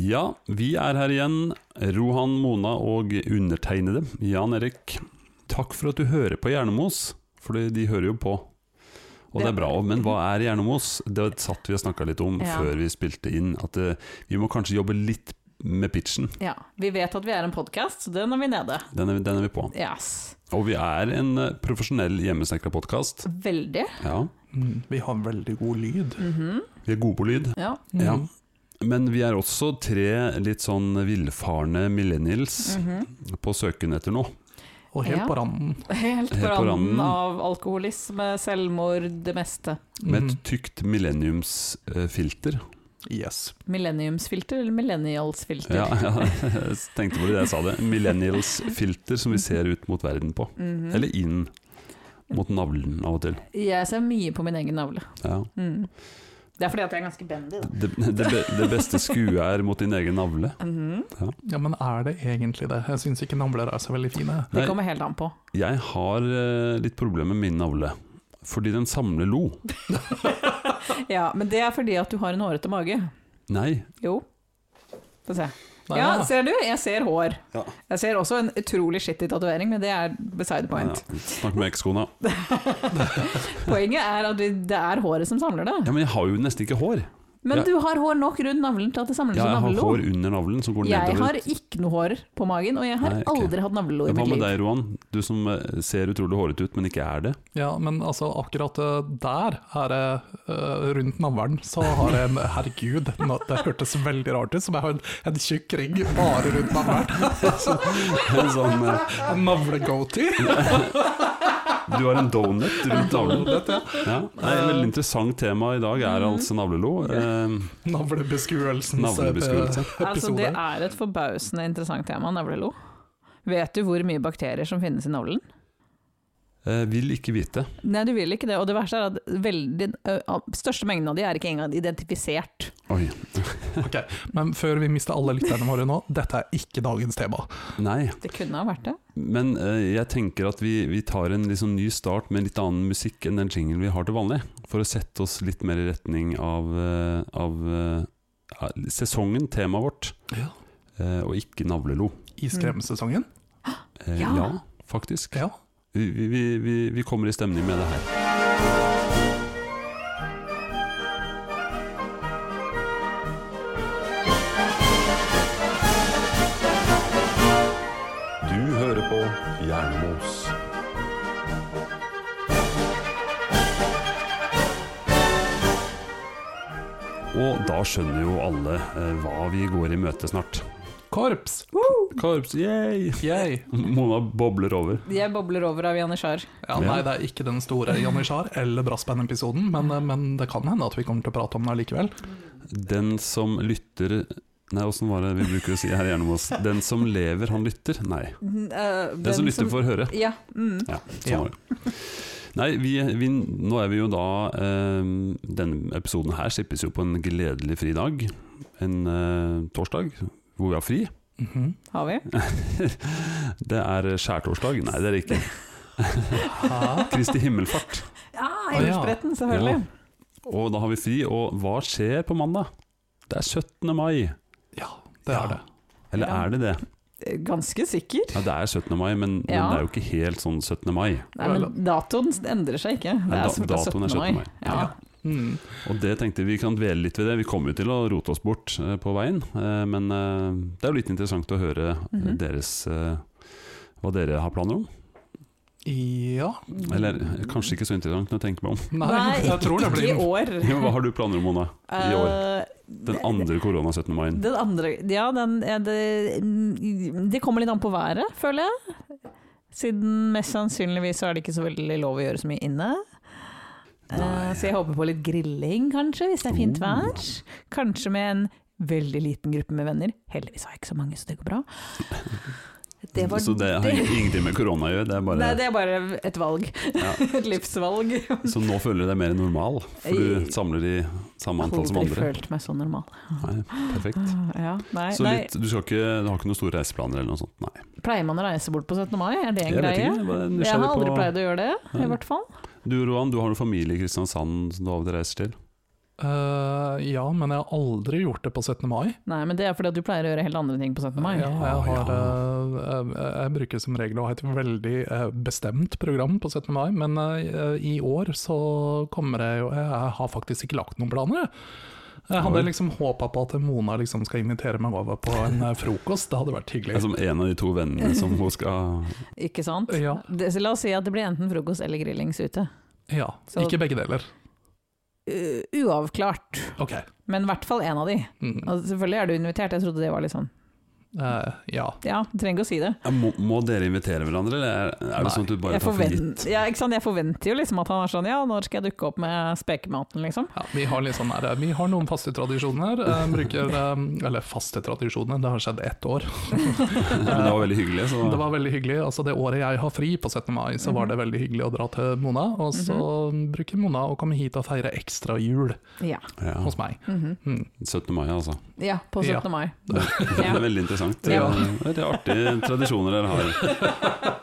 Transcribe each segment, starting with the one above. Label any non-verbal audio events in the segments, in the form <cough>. Ja, vi er her igjen, Rohan Mona og undertegnede, Jan Erik. Takk for at du hører på Hjernemos, for de hører jo på. Og det er bra, men hva er Hjernemos? Det satt vi og snakka litt om Ja. før vi spilte inn, at eh, vi må kanskje jobbe litt med pitchen. Ja, vi vet at vi er en podkast, så den er vi nede. Den er, den er vi på. Yes. Og vi er en eh, profesjonell hjemmesnekra podkast. Veldig. Ja, Mm, vi har veldig god lyd. vi er gode på lyd. Ja. Ja. Mm. Men vi er også tre litt sånn villfarne millennials mhm. på søken etter noe. Og helt Ja. på randen. Helt Helt på på randen. randen av alkoholisme, selvmord, det meste. Med Mm, et tykt millenniumsfilter. yes. Millenniumsfilter eller millennialsfilter? Ja, ja, <laughs> jeg tenkte på det da jeg sa det. Millennials-filter som vi ser ut mot verden på. Mhm. Eller inn mot navlen av og til. Jeg ser mye på min egen navle. Ja. Mm. Det er fordi at jeg er ganske bendy, da. Det, det, be- det beste skue er mot din egen navle. Mhm. Ja, men er det egentlig det? Jeg syns ikke navler er så veldig fine. Nei. Det kommer helt an på. Jeg har eh, litt problemer med min navle. Fordi den samler lo. Ja, Men det er fordi at du har en hårete mage. Nei. Jo. Få se. Nei, Ja, ser du? Jeg ser hår. Ja. Jeg ser også en utrolig skittig tatovering, men det er beside the Ja, point. snakk med ekskona. Poenget er at vi- det er håret som samler det. Ja, men jeg har jo nesten ikke hår. Men Ja. du har hår nok rundt navlen til at det samles Ja, som jeg har navlelo. hår under navlen som går Jeg nedover. har ikke noe hår på magen, og jeg har Nei, ok. aldri hatt navlelo i Hva mitt med liv. deg, Roan? Du som eh, ser utrolig hårete ut, men ikke er det. <laughs> Ja, men altså, akkurat eh, der er det eh, rundt navlen, så har jeg en <laughs> Herregud, nå- det hørtes veldig rart ut, som jeg har en, en tjukk ring bare rundt navlen. En sånn, eh, En navle-goatee. Du har en donut rundt navlen. Navlet, ja. Ja. Nei, et veldig interessant tema i dag er altså navlelo. Eh, Navlebeskuelsens Navlebeskuelse. eh, Altså, det episode. er et forbausende interessant tema, navlelo. Vet du hvor mye bakterier som finnes i navlen? eh, vil ikke vite. Nei, du vil ikke det. Og det verste er at veldig, ø, av- største mengden av de er ikke engang identifisert. Oi. Ok, Men før vi mister alle lytterne våre nå, dette er ikke dagens tema. Nei. Det kunne ha vært det. Men eh, jeg tenker at vi, vi tar en liksom ny start med litt annen musikk enn den jinglen vi har til vanlig. For å sette oss litt mer i retning av, eh, av eh, ja, sesongen, temaet vårt, Ja. eh, og ikke navlelo. I skremsesongen. Eh, Ja. ja, faktisk. Ja. Vi, vi- vi, vi, vi kommer i stemning med det her. Du hører på Jernmos. Og da skjønner jo alle eh, hva vi går i møte snart. Korps! Korps, yay! <laughs> Yay! Mona bobler over. Jeg bobler over av Janitsjar. Ja, Ja. nei, det er ikke den store Janitsjar eller Brassband-episoden, men, eh, men det kan hende at vi kommer til å prate om den allikevel. Den som lytter Nei, åssen var det vi bruker å si her i Hjernemos? Den som lever, han lytter? Nei. Den, som lytter, får høre. Ja. Mm. Ja, sånn Ja. var det. Nei, vi, vi, nå er vi jo da eh, Denne episoden her slippes jo på en gledelig fri dag. En eh, torsdag hvor vi har fri. <laughs> Mhm. Har vi? Det er skjærtorsdag. Nei, det er det ikke. Hæ? Kristi himmelfart. Ah, Ja, Å, ja. Himmelbretten, selvfølgelig. Og da har vi fri. Og hva skjer på mandag? Det er 17. mai. Ja, det er det. Eller er det det? Ganske sikker. Ja, det er 17. mai, men, men Ja. det er jo ikke helt sånn 17. mai. Nei, men datoen endrer seg ikke. Det Nei, er da- som- det er datoen er 17. mai. 17. mai. Ja. Mm. Og det tenkte vi kan dvele litt ved det. Vi kommer jo til å rote oss bort eh, på veien, eh, men eh, det er jo litt interessant å høre eh, Mhm. deres eh, hva dere har planer om. Ja Eller eh, kanskje ikke så interessant når jeg <laughs> tenker meg om. Nei, jeg tror det ikke blir i år. <laughs> Jo, Hva har du planer om, Mona? I år? Eh, Den andre korona 17. mai. Den andre Ja, den er det mm, Det kommer litt an på været, føler jeg. Siden mest sannsynligvis så er det ikke så veldig lov å gjøre så mye inne. Eh, Nei. Så jeg håper på litt grilling, kanskje, hvis det er fint Oh. vær. Kanskje med en veldig liten gruppe med venner. Heldigvis har jeg ikke så mange, så det <laughs> går bra. Det var så det har det. ingenting med korona å gjøre. Det er bare, Nei, det er bare et valg. Ja. <laughs> et livsvalg. Så nå føler du deg mer normal, for Jeg- du samler i samme antall som Aldri andre. følt meg så normal. Ah, Nei, perfekt. Ja, nei, Så nei. litt, du, skal ikke, du har ikke noen store reiseplaner eller noe sånt? Nei. Pleier man å reise bort på 17. mai? Er det en Jeg vet greie? ikke, jeg bare er Jeg har nysgjerrig aldri på- pleid å gjøre det, Nei. i hvert fall. Du Roan, du har noen familie i Kristiansand som du av og til reiser til? Eh, ja, men jeg har aldri gjort det på 17. mai. Nei, men det er fordi at du pleier å gjøre helt andre ting på 17. mai. Ja, jeg, Ah, ja. har, eh, jeg, jeg bruker som regel å ha et veldig eh, bestemt program på 17. mai, men eh, i år så kommer jeg jo Jeg har faktisk ikke lagt noen planer, jeg. Jeg hadde Oi. liksom håpa på at Mona liksom skal invitere meg over på en eh, frokost, det hadde vært Det er hyggelig. som en av de to vennene som hun skal Ikke sant? Ja. Det, så la oss si at det blir enten frokost eller grillings ute. Ja, Så- ikke begge deler. U- uavklart, Ok. men i hvert fall én av de. Mm. Altså, selvfølgelig er du invitert, jeg trodde det var litt sånn Eh, ja. Ja, du trenger ikke å si det. ja, må, må dere invitere hverandre, eller er, er det Nei. sånn at du bare Jeg, tar for gitt? forvent, ja, ikke sant? jeg forventer jo liksom at han er sånn Ja, når skal jeg dukke opp med spekematen, liksom? Ja, vi har litt sånn her, vi har noen faste tradisjoner. eh, bruker, eh, eller faste tradisjoner, det har skjedd ett år. <laughs> Men det var veldig hyggelig, så Det var veldig hyggelig. altså Det året jeg har fri på 17. mai, så var det veldig hyggelig å dra til Mona. Og så bruker Mona å komme hit og feire ekstra jul Ja. ja, hos meg. Mhm. Mm. 17. mai, altså. ja på 17. Ja. mai. <laughs> Det er veldig interessant. Ja. Det er artige tradisjoner dere har.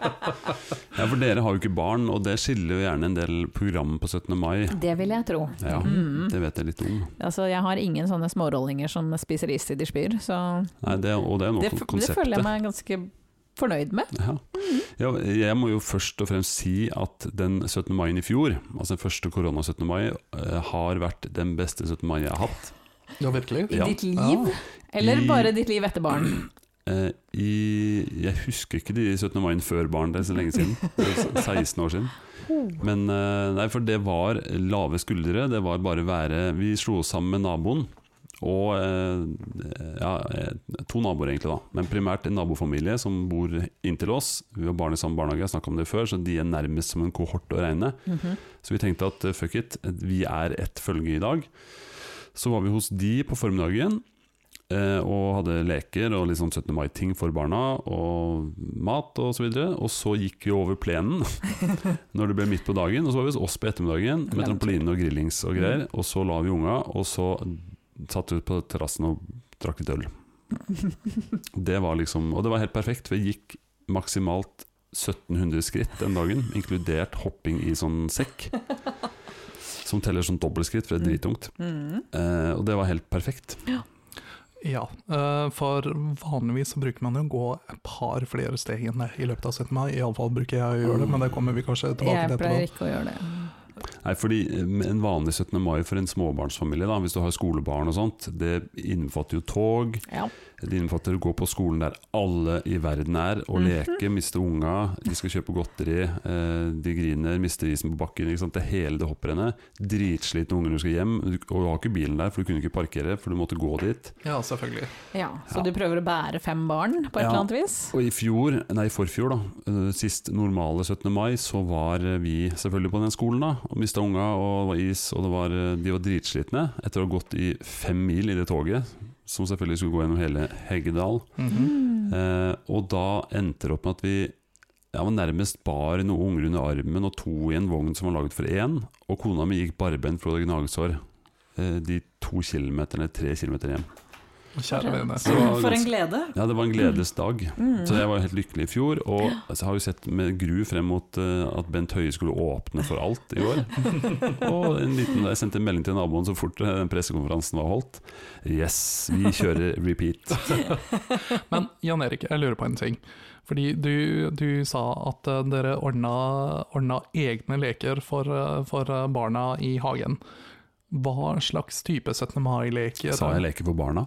Ja, for dere har jo ikke barn, og det skiller jo gjerne en del program på 17. mai. Det vil jeg tro. Ja, Mhm. det vet jeg litt om. Altså, jeg har ingen sånne smårollinger som spiser is til de spyr, så Nei, det, og det er noe det, av f- det konseptet. føler jeg meg ganske fornøyd med. Ja. ja, jeg må jo først og fremst si at den 17. mai i fjor, altså den første korona 17. mai, eh, har vært den beste 17. mai jeg har hatt. Ja, virkelig? Ja. Ditt liv, eller I- bare ditt liv etter barn. <clears throat> Eh, I, jeg husker ikke de 17. maiene før barn, det er så lenge siden. Det er s- 16 år siden. Men eh, nei, for det var lave skuldre, det var bare være Vi slo oss sammen med naboen. Og eh, ja, eh, to naboer, egentlig, da. Men primært en nabofamilie som bor inntil oss. Vi har barn i samme barnehage, jeg snakket om det før, så de er nærmest som en kohort å regne. Mhm. Så vi tenkte at eh, fuck it, vi er ett følge i dag. Så var vi hos de på formiddagen eh, og hadde leker og litt sånn 17. mai-ting for barna, og mat og så videre. Og så gikk vi over plenen <laughs> når det ble midt på dagen, og så var vi hos oss på ettermiddagen med trampoline og grillings og greier. Og så la vi unga, og så satt vi ut på terrassen og drakk litt øl. Det var liksom, og det var helt perfekt, for jeg gikk maksimalt 1700 skritt den dagen, inkludert hopping i sånn sekk. Som teller som dobbeltskritt, for det er drittungt. Mhm. Eh, og det var helt perfekt. Ja, eh, for vanligvis så bruker man jo å gå et par flere steg enn det i løpet av 17. mai. Iallfall bruker jeg å gjøre det, men det kommer vi kanskje tilbake Jeg til pleier etterpå. ikke å gjøre det. Nei, fordi eh, En vanlig 17. mai for en småbarnsfamilie, da, hvis du har skolebarn og sånt, det innbefatter jo tog. Ja. Det innbefatter å gå på skolen der alle i verden er, og leke, miste unga. De skal kjøpe godteri, eh, de griner, mister isen på bakken. Ikke sant? Det hele det hopprennet. Dritslitne unger når du skal hjem. Du- Og du har ikke bilen der, for du kunne ikke parkere, for du måtte gå dit. Ja, selvfølgelig. ja. Så Ja. du prøver å bære fem barn på et Ja. eller annet vis? Og i fjor, nei i forfjor da, eh, sist normale 17. mai, så var eh, vi selvfølgelig på den skolen da, og mistet unga, og det var is, og det var, eh, de var dritslitne etter å ha gått i fem mil i det toget, som selvfølgelig skulle gå gjennom hele Heggedal. Mhm. Mm. Eh, og da endte det opp med at vi ja, men nærmest bar noen unger under armen og to i en vogn som var laget for én, og kona mi gikk barbent for å hadde gnagesår eh, de to kilometerne, tre kilometer hjem. Kjære vene. Så det var Mm, For en ganske- glede. ja, det var en gledesdag. Mm. Så jeg var helt lykkelig i fjor, og jeg har jo sett med gru frem mot eh, at Bent Høie skulle åpne for alt i <laughs> år. Og en liten, jeg sendte en melding til naboen så fort eh, den pressekonferansen var holdt. Yes, <laughs> vi kjører repeat. Men Jan Erik, jeg lurer på en ting. Fordi du, du sa at eh, dere ordna, ordna egne leker for, eh, for eh, barna i hagen. Hva slags type 17. mai-leker? Sa jeg leker for barna?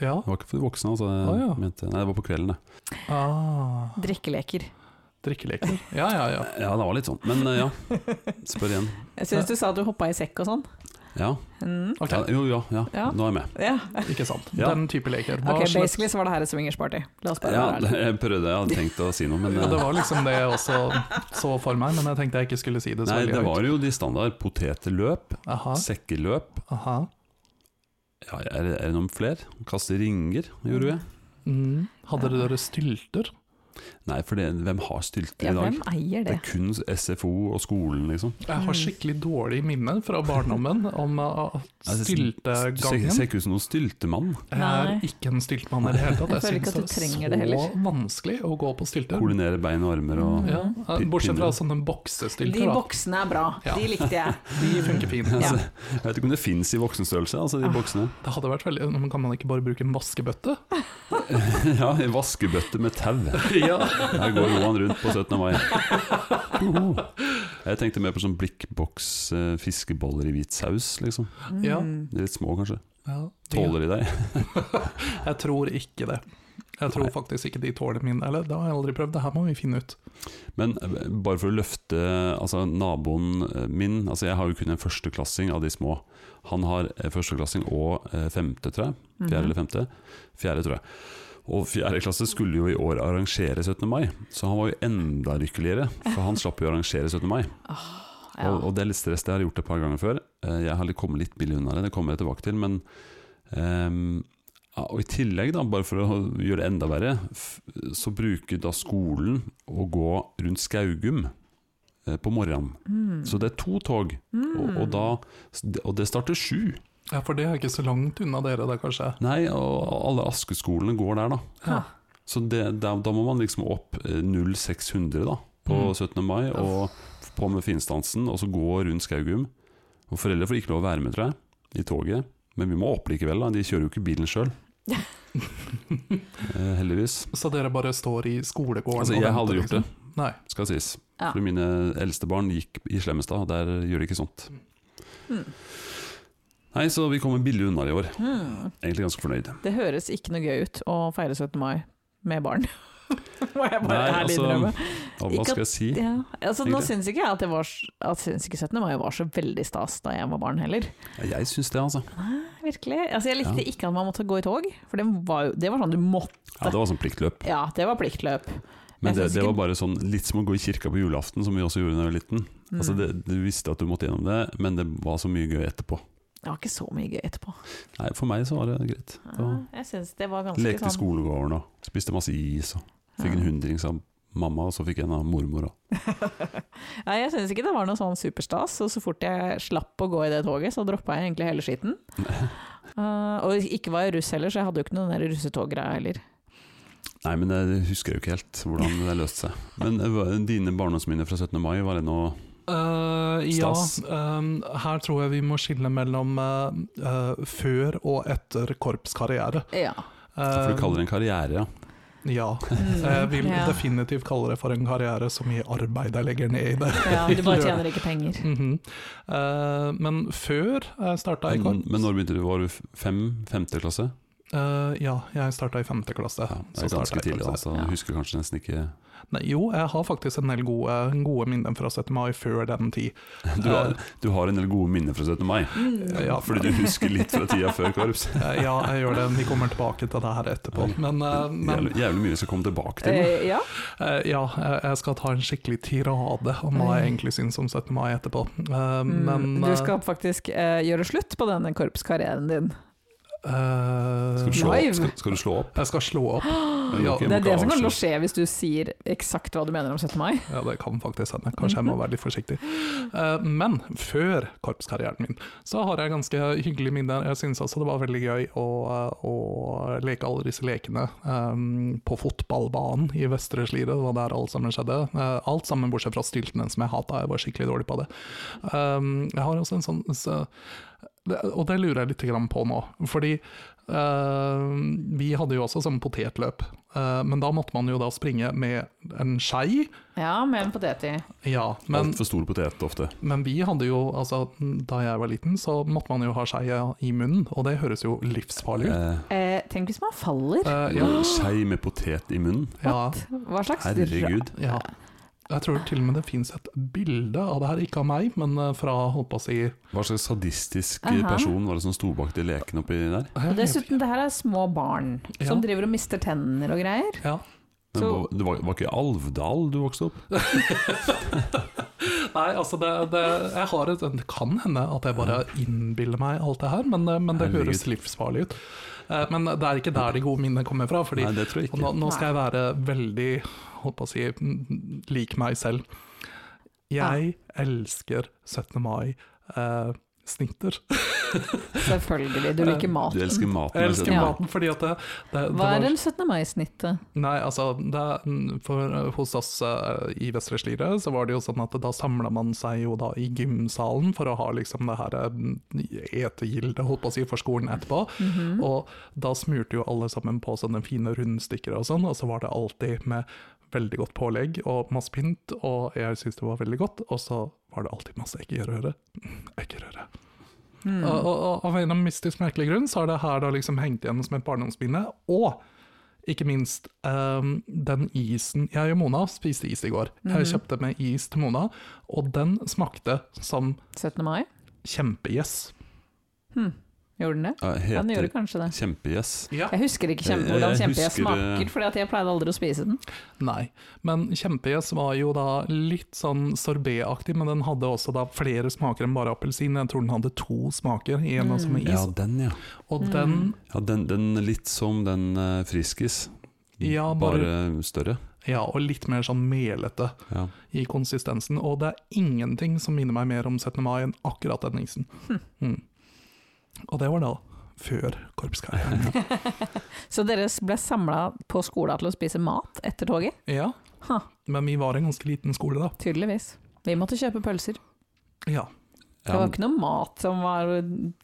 Ja. Det var ikke for de voksne, altså. Jeg Å, ja. mente, nei, det var på kvelden, det. Ah, Mm. Drikkeleker. <laughs> drikkeleker. Ja, ja, ja. Ja, det var litt sånn. Men eh, ja, spør igjen. Jeg syns du sa at du hoppa i sekk og sånn. Ja. Mm. Ok, ja jo, ja, ja. Ja. Nå er jeg med. Ja. ikke sant. Ja. Den type leker. Hva Ok, slags- basically så var det her et swingersparty. La oss bare Ja, være ærlige. jeg prøvde, jeg hadde tenkt å si noe, men ja, det eh, var liksom det jeg også så for meg, men jeg tenkte jeg ikke skulle si det så Nei, veldig det høyt. var jo de standard potetløp, Aha, sekkeløp. aha. Ja, er, det- er det noen flere? Kaste ringer, gjorde vi. Mm. Hadde dere stylter? Nei, for det, hvem har stylter Ja, i dag? hvem eier Det det? er kun SFO og skolen, liksom. Jeg har skikkelig dårlig minne fra barndommen om uh, Altså, Du ser, styltegangen. ser ikke ut som noen styltemann. Jeg er Nei. ikke en styltmann i det hele tatt. Jeg Jeg føler ikke syns det at du trenger er det så heller. Mhm. vanskelig å gå på stylter. Koordinere bein og armer og Ja, uh, Pin- bortsett fra pinner. sånne De boksestylter, da. boksene er bra. Ja. De likte jeg. De funker fint. Ja. Jeg vet ikke om det fins i voksenstørrelse, altså Ah. de boksene. <laughs> Det hadde vært veldig men Kan man ikke bare bruke en vaskebøtte? Ja, i vaskebøtte med tau. ja. Her går Johan rundt på 17. mai. Uhu. Jeg tenkte mer på sånn blikkboks, eh, fiskeboller i hvit saus, liksom. <laughs> Ja. Mm. De er litt små, kanskje. ja. Tåler de deg? Jeg tror ikke det. Jeg tror Nei. faktisk ikke de tåler min. Eller, det har jeg aldri prøvd. Det her må vi finne ut. Men eh, bare for å løfte altså, naboen eh, min altså, Jeg har jo kun en førsteklassing av de små. Han har eh, førsteklassing og eh, femte, tror jeg. Fjerde Mhm. eller femte? Fjerde, tror jeg. Og fjerde klasse skulle jo i år arrangere 17. mai, så han var jo enda lykkeligere. For han slapp jo å arrangere 17. mai. Ja. Og, og det er litt stress, det har jeg gjort et par ganger før. Eh, Jeg har litt- kommet litt billig unna det, det kommer jeg tilbake til. Men ehm, ja, Og i tillegg, da, bare for å gjøre det enda verre, f- så bruker da skolen å gå rundt Skaugum eh, på morgenen. Mm. Så det er to tog, og, og, da, og det starter sju. Ja, For det er ikke så langt unna dere, da, kanskje? Nei, og alle askeskolene går der, da. Ah. Ja. Så det, da, da må man liksom opp eh, 0600 da, på Mm. 17. mai, og f- på med finstansen, og så gå rundt Skaugum. Og foreldre får ikke lov å være med, tror jeg, i toget. Men vi må opp likevel, da. De kjører jo ikke bilen <laughs> sjøl. eh, heldigvis, Så dere bare står i skolegården Altså, jeg har aldri gjort det. liksom? Nei. skal sies. Ja. For mine eldste barn gikk i Slemmestad, og der gjør de ikke sånt. Mm. Nei, så vi kommer billig unna i år. Mm. Egentlig ganske fornøyd. Det høres ikke noe gøy ut å feire 17. mai med barn. <laughs> Må jeg bare Nei, ærlig altså, innrømme. Og Ikke hva at- skal jeg si? Ja. Altså, nå Egentlig. syns ikke jeg at, det var, s- at syns ikke 17. mai var så veldig stas da jeg var barn heller. Jeg syns det, altså. Virkelig. Altså, jeg likte Ja. ikke at man måtte gå i tog, for det var, jo, det var sånn du måtte. Ja, det var sånn pliktløp. Ja, det var pliktløp. Men Jeg det, synes det ikke- var bare sånn litt som å gå i kirka på julaften, som vi også gjorde da jeg var liten. Mm. Altså det, du visste at du måtte gjennom det, men det var så mye gøy etterpå. Det var ikke så mye gøy etterpå. Nei, For meg så var det greit. Det Ja, var, jeg syns det var ganske lekte i sånn skolegården og spiste masse is. Og fikk en Ja. hundrings av mamma, og så fikk jeg en av mormor. Og. Nei, jeg syns ikke det var noe sånn superstas, og så fort jeg slapp å gå i det toget, så droppa jeg egentlig hele skitten. Eh, og ikke var jeg russ heller, så jeg hadde jo ikke noe den der russetoggreia heller. Nei, men det husker jeg jo ikke helt hvordan det løste seg. Men eh, hva- dine barndomsminner fra 17. mai, var det noe Eh, ja, Stas. ehm, her tror jeg vi må skille mellom eh, eh, før og etter korpskarriere. Ja. Eh, For du kaller det en karriere, ja. Ja. eh, Mm, Jeg vil ja. definitivt kalle det for en karriere så mye arbeid jeg legger ned i det. ja, du bare tjener ikke penger. Mhm. Eh, men før jeg starta i Men, korps men når begynte du? Var du f- fem? Femte klasse? Eh, Ja, jeg starta i femte klasse. Ja, det Så er startet ganske jeg i tidlig, korpset. altså. Ja. Du husker kanskje nesten ikke Nei, jo, jeg har faktisk en del gode, gode minner fra 17. mai før den tid. du har, du har en del gode minner fra 17. mai. Eh, Mm. Ja, Fordi du husker litt fra tida før korps. Eh, ja, jeg gjør det. Vi kommer tilbake til det her etterpå. Men, eh, <laughs> men Jævlig, jævlig mye vi skal komme tilbake til. Eh, ja. Eh, ja, jeg jeg skal ta en skikkelig tirade om hva jeg egentlig syns om 17. mai etterpå. Eh, men Mm, eh, du skal faktisk eh, gjøre slutt på denne korpskarrieren din. eh, Skal du slå Live. opp? Skal, skal du slå opp? Jeg skal slå opp. Men Ja, ok, Det må er ikke det som kan avsløres. skje hvis du sier eksakt hva du mener om 17. mai. Ja, det kan faktisk hende. Kanskje jeg må være litt forsiktig. Eh, men før korpskarrieren min, så har jeg ganske hyggelige minner. Jeg syns også det var veldig gøy å, eh, å leke alle disse lekene eh, på fotballbanen i Vestre Slidre. Det var der alt sammen skjedde. Eh, alt sammen bortsett fra styltene, som jeg hata. Jeg var skikkelig dårlig på det. Eh, jeg har også en sånn så, det, Og det lurer jeg litt grann på nå. Fordi eh, vi hadde jo også sånn potetløp, Eh, men da måtte man jo da springe med en skei. Ja, med en potet i. Ja, men, Altfor stor potet ofte. men vi hadde jo altså, Da jeg var liten, så måtte man jo ha skeia i munnen, og det høres jo livsfarlig ut. Eh, Eh, tenk hvis man faller. Eh, ja, en Skei med potet i munnen. ja, Hva slags Herregud. ja. Jeg tror til og med det fins et bilde av det her, ikke av meg, men eh, fra holdt på å si Hva slags sadistisk Aha. person var det som sto bak de lekene oppi der? Og dessuten, det her er små barn Ja. som driver og mister tenner og greier. ja. Men Så- var- det var, var ikke i Alvdal du vokste opp? Nei, altså det, det, jeg har et, det kan hende at jeg bare innbiller meg alt det her, men, eh, men det Herregud. høres livsfarlig ut. Eh, Men det er ikke der de gode minnene kommer fra. Fordi Nei, det tror jeg og nå, ikke. nå skal jeg være veldig holdt på å si, mm, lik meg selv. Jeg elsker eh, 17. mai-snitter. Selvfølgelig. Du liker Du maten. elsker maten. jeg elsker Ja. maten fordi at det, det, Hva det var- er en 17. mai-snittet? Nei, altså det, er- mm, for, eh, Hos oss eh, i Vestre Slidre så var det jo sånn at da samla man seg jo da i gymsalen for å ha liksom det her eh, etegilde, holdt på å si, for skolen etterpå. Og da smurte jo alle sammen på sånne fine rundstykker og sånn, og så var det alltid med veldig godt pålegg og masse pynt, og jeg syntes det var veldig godt, og så var det alltid masse <laughs> eggerøre. Mm, Eggerøre. Mm. Og, og, og av en eller annen mystisk merkelig grunn så har det her da liksom hengt igjen som et barndomsminne. Og ikke minst ehm, den isen Jeg og Mona spiste is i går. Jeg kjøpte med is til Mona, og den smakte som 17. mai? kjempegjess. Hm. Gjorde den det? Ja, Ja, den Heter gjorde kanskje det. kjempegjess. Jeg husker ikke Jeg- kjempe, hvordan jeg kjempe jeg husker, eh, smaker, for jeg pleide aldri å spise den. Nei. Men kjempegjess var jo da litt sånn sorbetaktig, men den hadde også da flere smaker enn bare appelsin. Jeg tror den hadde to smaker i en Mm. som er Ja, is, den, ja. og den ja den, den er litt som den eh, Friskis, Ja, bare, bare- større. Ja, og litt mer sånn melete. Ja. i konsistensen, og det er ingenting som minner meg mer om 17. mai enn akkurat den isen. Mm. Og det var da før korpskarrieren. Så dere ble samla på skolen til å spise mat etter toget? ja, Ha, men vi var en ganske liten skole da. tydeligvis. Vi måtte kjøpe pølser. Ja, Det var ikke noe mat som var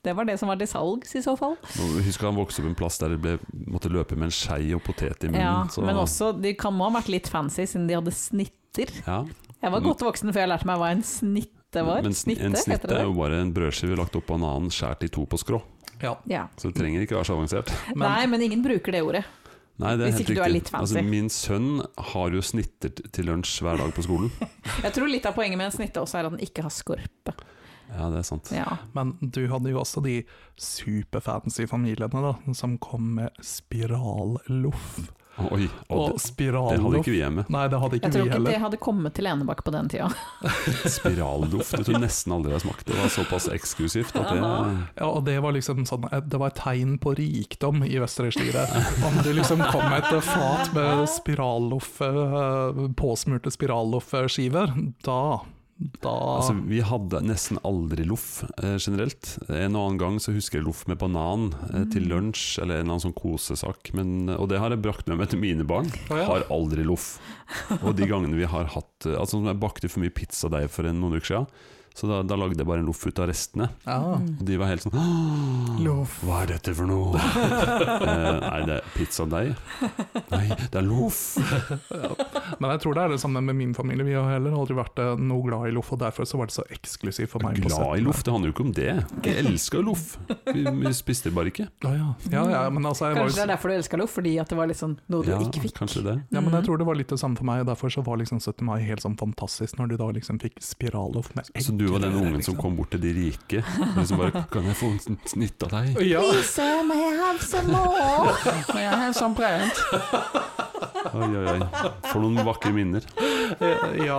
Det var det som var til salgs, i så fall. Og Husk at han vokste opp i en plass der det ble, måtte løpe med en skei og potet i munnen. Ja, så- men også, de kan må ha vært litt fancy, siden de hadde snitter. ja. Jeg var godt voksen før jeg lærte meg hva en snitte var. Men sn- Snitte, en snitt heter det. er jo bare en brødskive lagt oppå en annen, skåret i to på skrå. ja. Ja. Så det trenger ikke være så avansert. Men, Nei, men ingen bruker det ordet. Nei, det er Hvis helt ikke du er riktig. litt fancy. Altså, min sønn har jo snitter t- til lunsj hver dag på skolen. Jeg tror litt av poenget med en snitte også er at den ikke har skorpe. Ja, det er sant. Ja. men du hadde jo også de superfancy familiene da, som kom med spiralloff. Oi, og Og det, det hadde spiralloff. ikke vi hjemme. Nei, det hadde ikke Jeg tror vi ikke det heller. hadde kommet til Enebakk på den tida. Spiralloff, det tror jeg nesten aldri jeg har smakt. Det var såpass eksklusivt at det Ja, og det var liksom sånn, det var et tegn på rikdom i Vestre Slidre. Om du liksom kom med et fat med spiralloff, eh, påsmurte spiralloffskiver, da da Altså, vi hadde nesten aldri loff eh, generelt. En og annen gang så husker jeg loff med banan eh, til Mm. lunsj, eller en eller annen sånn kosesak. Men, og det har jeg brakt med meg til mine barn. Å ja. Har aldri loff. Og de gangene vi har hatt eh, Altså, jeg bakte for mye pizzadeig for en, noen uker siden, så da, da lagde jeg bare en loff ut av restene. ja. Mm. Og de var helt sånn «Åh, Loff. Hva er dette for noe? eh, nei, det er pizzadeig. Nei, det er loff. Men jeg tror det er det samme med min familie. Vi har heller aldri vært eh, noe glad i loff, og derfor så var det så eksklusivt for meg. på Glad i 17. loff, det handler jo ikke om det. Vi elska jo loff. Vi, vi spiste det bare ikke. Å ja. Ja, ja, men altså, jeg var Kanskje det jo er derfor du elska loff, fordi at det var litt sånn noe du ikke fikk. Mm. Kanskje det. ja, men jeg tror det var litt det samme for meg, og derfor så var liksom 17. mai helt sånn fantastisk, når du da liksom fikk spiralloff med egg. Så du var den eller ungen som liksom. kom bort til de rike og liksom bare 'Kan jeg få en sn- snitt av deg?' Ja, <laughs> Lise, eh, may I have some more? <laughs> May I have some bread? Oi, oi, oi. For noen vakre minner. eh, ja.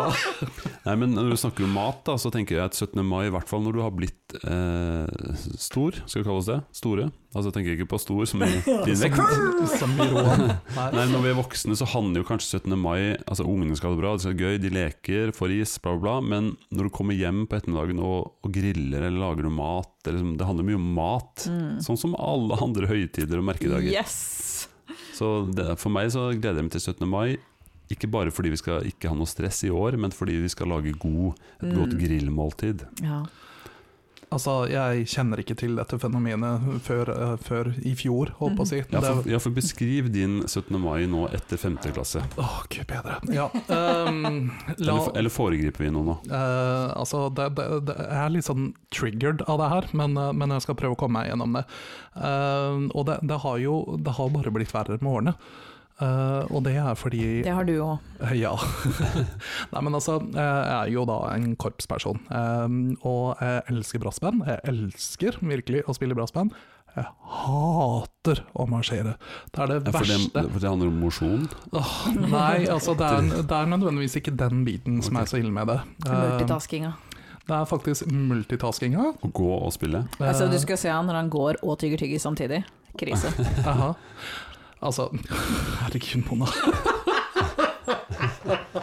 Nei, men Når du snakker om mat, da, så tenker jeg at 17. mai, i hvert fall når du har blitt eh, stor, skal vi kalle oss det, store Altså jeg tenker ikke på stor som i din vekt. Som i <laughs> Roan. Nei, Når vi er voksne, så handler jo kanskje 17. mai Altså Ungene skal ha det bra, det skal være gøy, de leker, får is, bla, bla, bla. Men når du kommer hjem på ettermiddagen og, og griller eller lager noe mat eller, liksom, Det handler mye om mat. Mm. Sånn som alle andre høytider og merkedager. Yes! Så det, for meg så gleder jeg meg til 17. mai. Ikke bare fordi vi skal ikke ha noe stress i år, men fordi vi skal lage god, et godt Mm. grillmåltid. Ja. Altså, jeg kjenner ikke til dette fenomenet før, eh, før i fjor, holdt på å si. Mm. Ja, for, Det- ja, for beskriv din 17. mai nå etter 5. klasse. Åh, gud bedre. Ja, ehm, la, Eller, eller foregriper vi noe nå? eh, altså, det, det, det jeg er litt sånn triggered av det her, men, eh, men jeg skal prøve å komme meg gjennom det. Ehm, og det, det har jo det har bare blitt verre med årene. Eh, og det er fordi Det har du òg. Eh, <laughs> Ja. Nei, men altså, eh, jeg er jo da en korpsperson, eh, og jeg elsker brassband. Jeg elsker virkelig å spille brassband. Jeg hater å marsjere. Det er det Ja, for, det, verste. for det handler om mosjon. Åh, <laughs> <laughs> nei, altså det er, det er nødvendigvis ikke den biten som er så ille med det. Eh, Multitaskinga. Det er faktisk multitaskinga. Å gå og spille. Eh, Altså, du skal se han når han går og tygger tyggis samtidig. Krise. <laughs> Eh, aha. Altså, <laughs> herregud, Mona.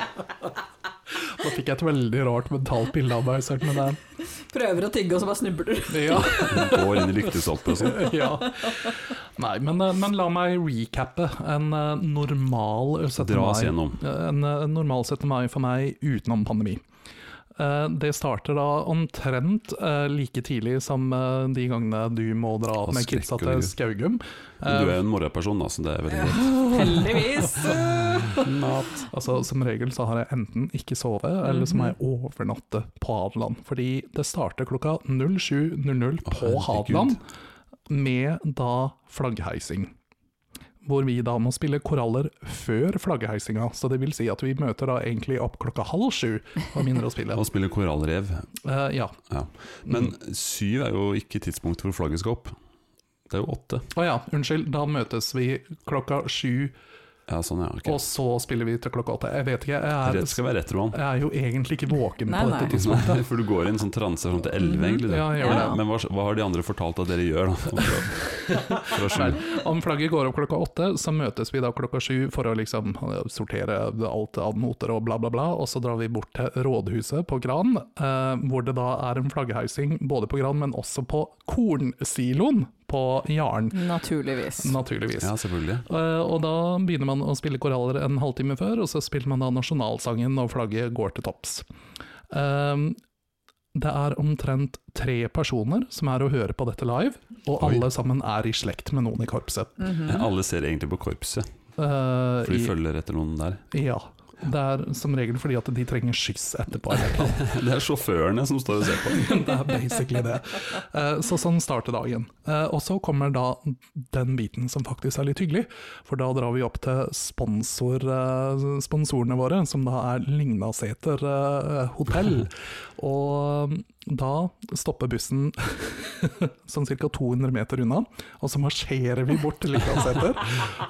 <laughs> Da fikk jeg et veldig rart mentalt bilde av meg selv med den. Prøver å tygge, og så bare snubler du. Ja. Går inn i lyktestolpen og sånn. <laughs> ja. Nei, men, eh, men la meg recappe. En eh, normal 17. Dra oss mai. gjennom. Eh, En eh, normal 17. mai for meg utenom pandemi. Eh, Det starter da omtrent eh, like tidlig som eh, de gangene du må dra Og opp med kidsa skrekker til Skaugum. Eh, Du er en morgenperson, da, så det er veldig greit. Heldigvis. <laughs> Altså, som regel så har jeg enten ikke sovet, eller så må jeg overnatte på Hadeland. Fordi det starter klokka 07.00 på herregud. Hadeland, med da flaggheising. Hvor vi da må spille koraller før flaggheisinga, så det vil si at vi møter da egentlig opp klokka halv sju og begynner å <laughs> spille. Og spiller korallrev. Eh, ja. Ja. Men Mm. syv er jo ikke tidspunkt hvor flagget skal opp. Det er jo åtte. Å ja, unnskyld, da møtes vi klokka sju, Ja, sånn, ja. ok. og så spiller vi til klokka åtte. Jeg vet ikke, jeg Rett er, skal være rett, Roan. jeg er jo egentlig ikke våken Nei, på nei. dette tidspunktet. Nei, For du går i en sånn transe sånn til elleve, egentlig. du. Mm, Ja, jeg gjør det. Men hva, hva har de andre fortalt at dere <laughs> gjør, da? Fra- Fra sju. Om flagget går opp klokka åtte, så møtes vi da klokka sju for å liksom sortere alt av noter og bla, bla, bla. Og så drar vi bort til rådhuset på Gran, eh, hvor det da er en flaggheising både på Gran, men også på kornsiloen på Jaren, Naturligvis. naturligvis. Ja, selvfølgelig. Eh, og da begynner man å spille koraller en halvtime før, og så spiller man da nasjonalsangen når flagget går til topps. Eh, det er omtrent tre personer som er å høre på dette live, og Oi. alle sammen er i slekt med noen i korpset. Mhm. Alle ser egentlig på korpset, Eh, for de Mm. i- følger etter noen <laughs> der. Ja. Det er som regel fordi at de trenger skyss etterpå. eller <laughs> noe. Det er sjåførene som står og ser på. Det er basically det. Eh, Så sånn starter dagen. Eh, Og så kommer da den biten som faktisk er litt hyggelig, for da drar vi opp til sponsor, eh, sponsorene våre, som da er Lignaseter eh, <laughs> hotell. Og mm, da stopper bussen <laughs> sånn ca. 200 meter unna, og så marsjerer vi bort til <laughs> Lignaseter.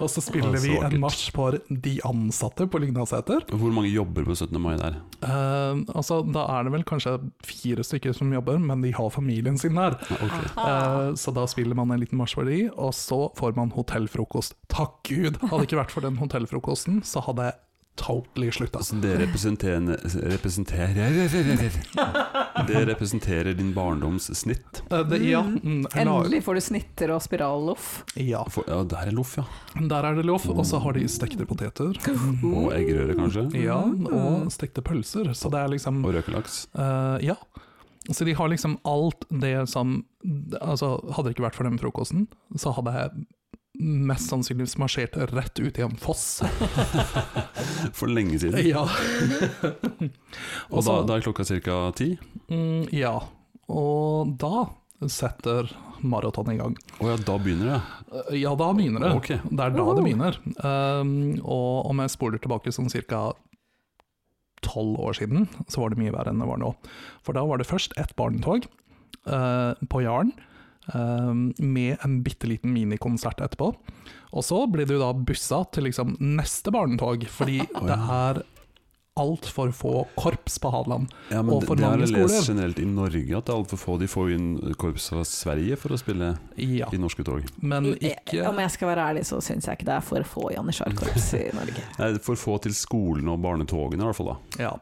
Og så spiller vi en marsj for de ansatte på Lignaseter. Hvor mange jobber på 17. mai der? Eh, altså, da er det vel kanskje fire stykker som jobber, men de har familien sin der. Ja, ok. Eh, så da spiller man en liten marsj for de, og så får man hotellfrokost. Takk Gud! Hadde det ikke vært for den hotellfrokosten, så hadde jeg totally slutta. Altså, det representerer, <laughs> representerer Det representerer din barndoms snitt. Eh, det, ja, mm, jeg la- Endelig får du snitter og spiralloff. ja, For, ja, der er loff, ja. der er det lov. Og så har de stekte poteter. Og eggerøre, kanskje. Ja, og stekte pølser. Så det er liksom Og røkelaks. Eh, ja. Så de har liksom alt det som Altså, hadde det ikke vært for den frokosten, så hadde jeg mest sannsynligvis marsjert rett ut i en foss. For lenge siden. ja. altså- Og da, da er klokka ca. ti. mm, ja. Og da setter maraton i gang. Å ja, da begynner det. Eh, Ja, da begynner det. Ok. Det er da det begynner. Um, og om jeg spoler tilbake sånn ca. tolv år siden, så var det mye verre enn det var nå. For da var det først et barnetog eh, på Jaren. Um, med en bitte liten minikonsert etterpå. Og så blir du da bussa til liksom neste barnetog, <laughs> fordi det er altfor få korps på Hadeland. Ja, men Og det, for det har mange jeg lest skoler. generelt i Norge, at det er altfor få. De får jo inn korps fra Sverige for å spille Ja, i norske tog. men Eh, ikke Om jeg skal være ærlig, så syns jeg ikke det er for få janitsjarkorps i Norge. Nei, for få til skolen og barnetogene, i hvert fall. da Ja,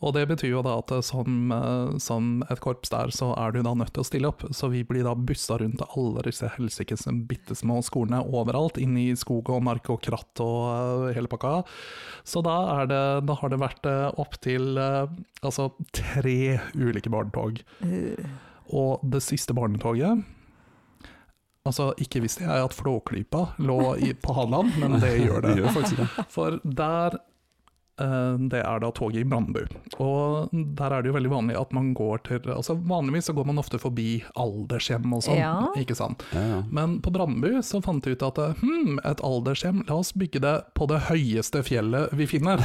og det betyr jo da at eh, som, eh, som et korps der, så er du da nødt til å stille opp. Så vi blir da bussa rundt til alle disse helsikes bitte små skolene overalt, inn i skog og mark og kratt og eh, hele pakka. Så da, er det, da har det vært eh, opptil altså tre ulike barnetog. Og det siste barnetoget Altså, ikke visste jeg at Flåklypa lå i, på Hadeland, men det gjør det. De gjør faktisk <laughs> det. For der eh, det er da toget i Brandbu. Og der er det jo veldig vanlig at man går til altså Vanligvis så går man ofte forbi aldershjem og sånn, Ja. ikke sant. Ja, ja. Men på Brandbu så fant vi ut at eh, hm, et aldershjem, la oss bygge det på det høyeste fjellet vi <laughs> finner.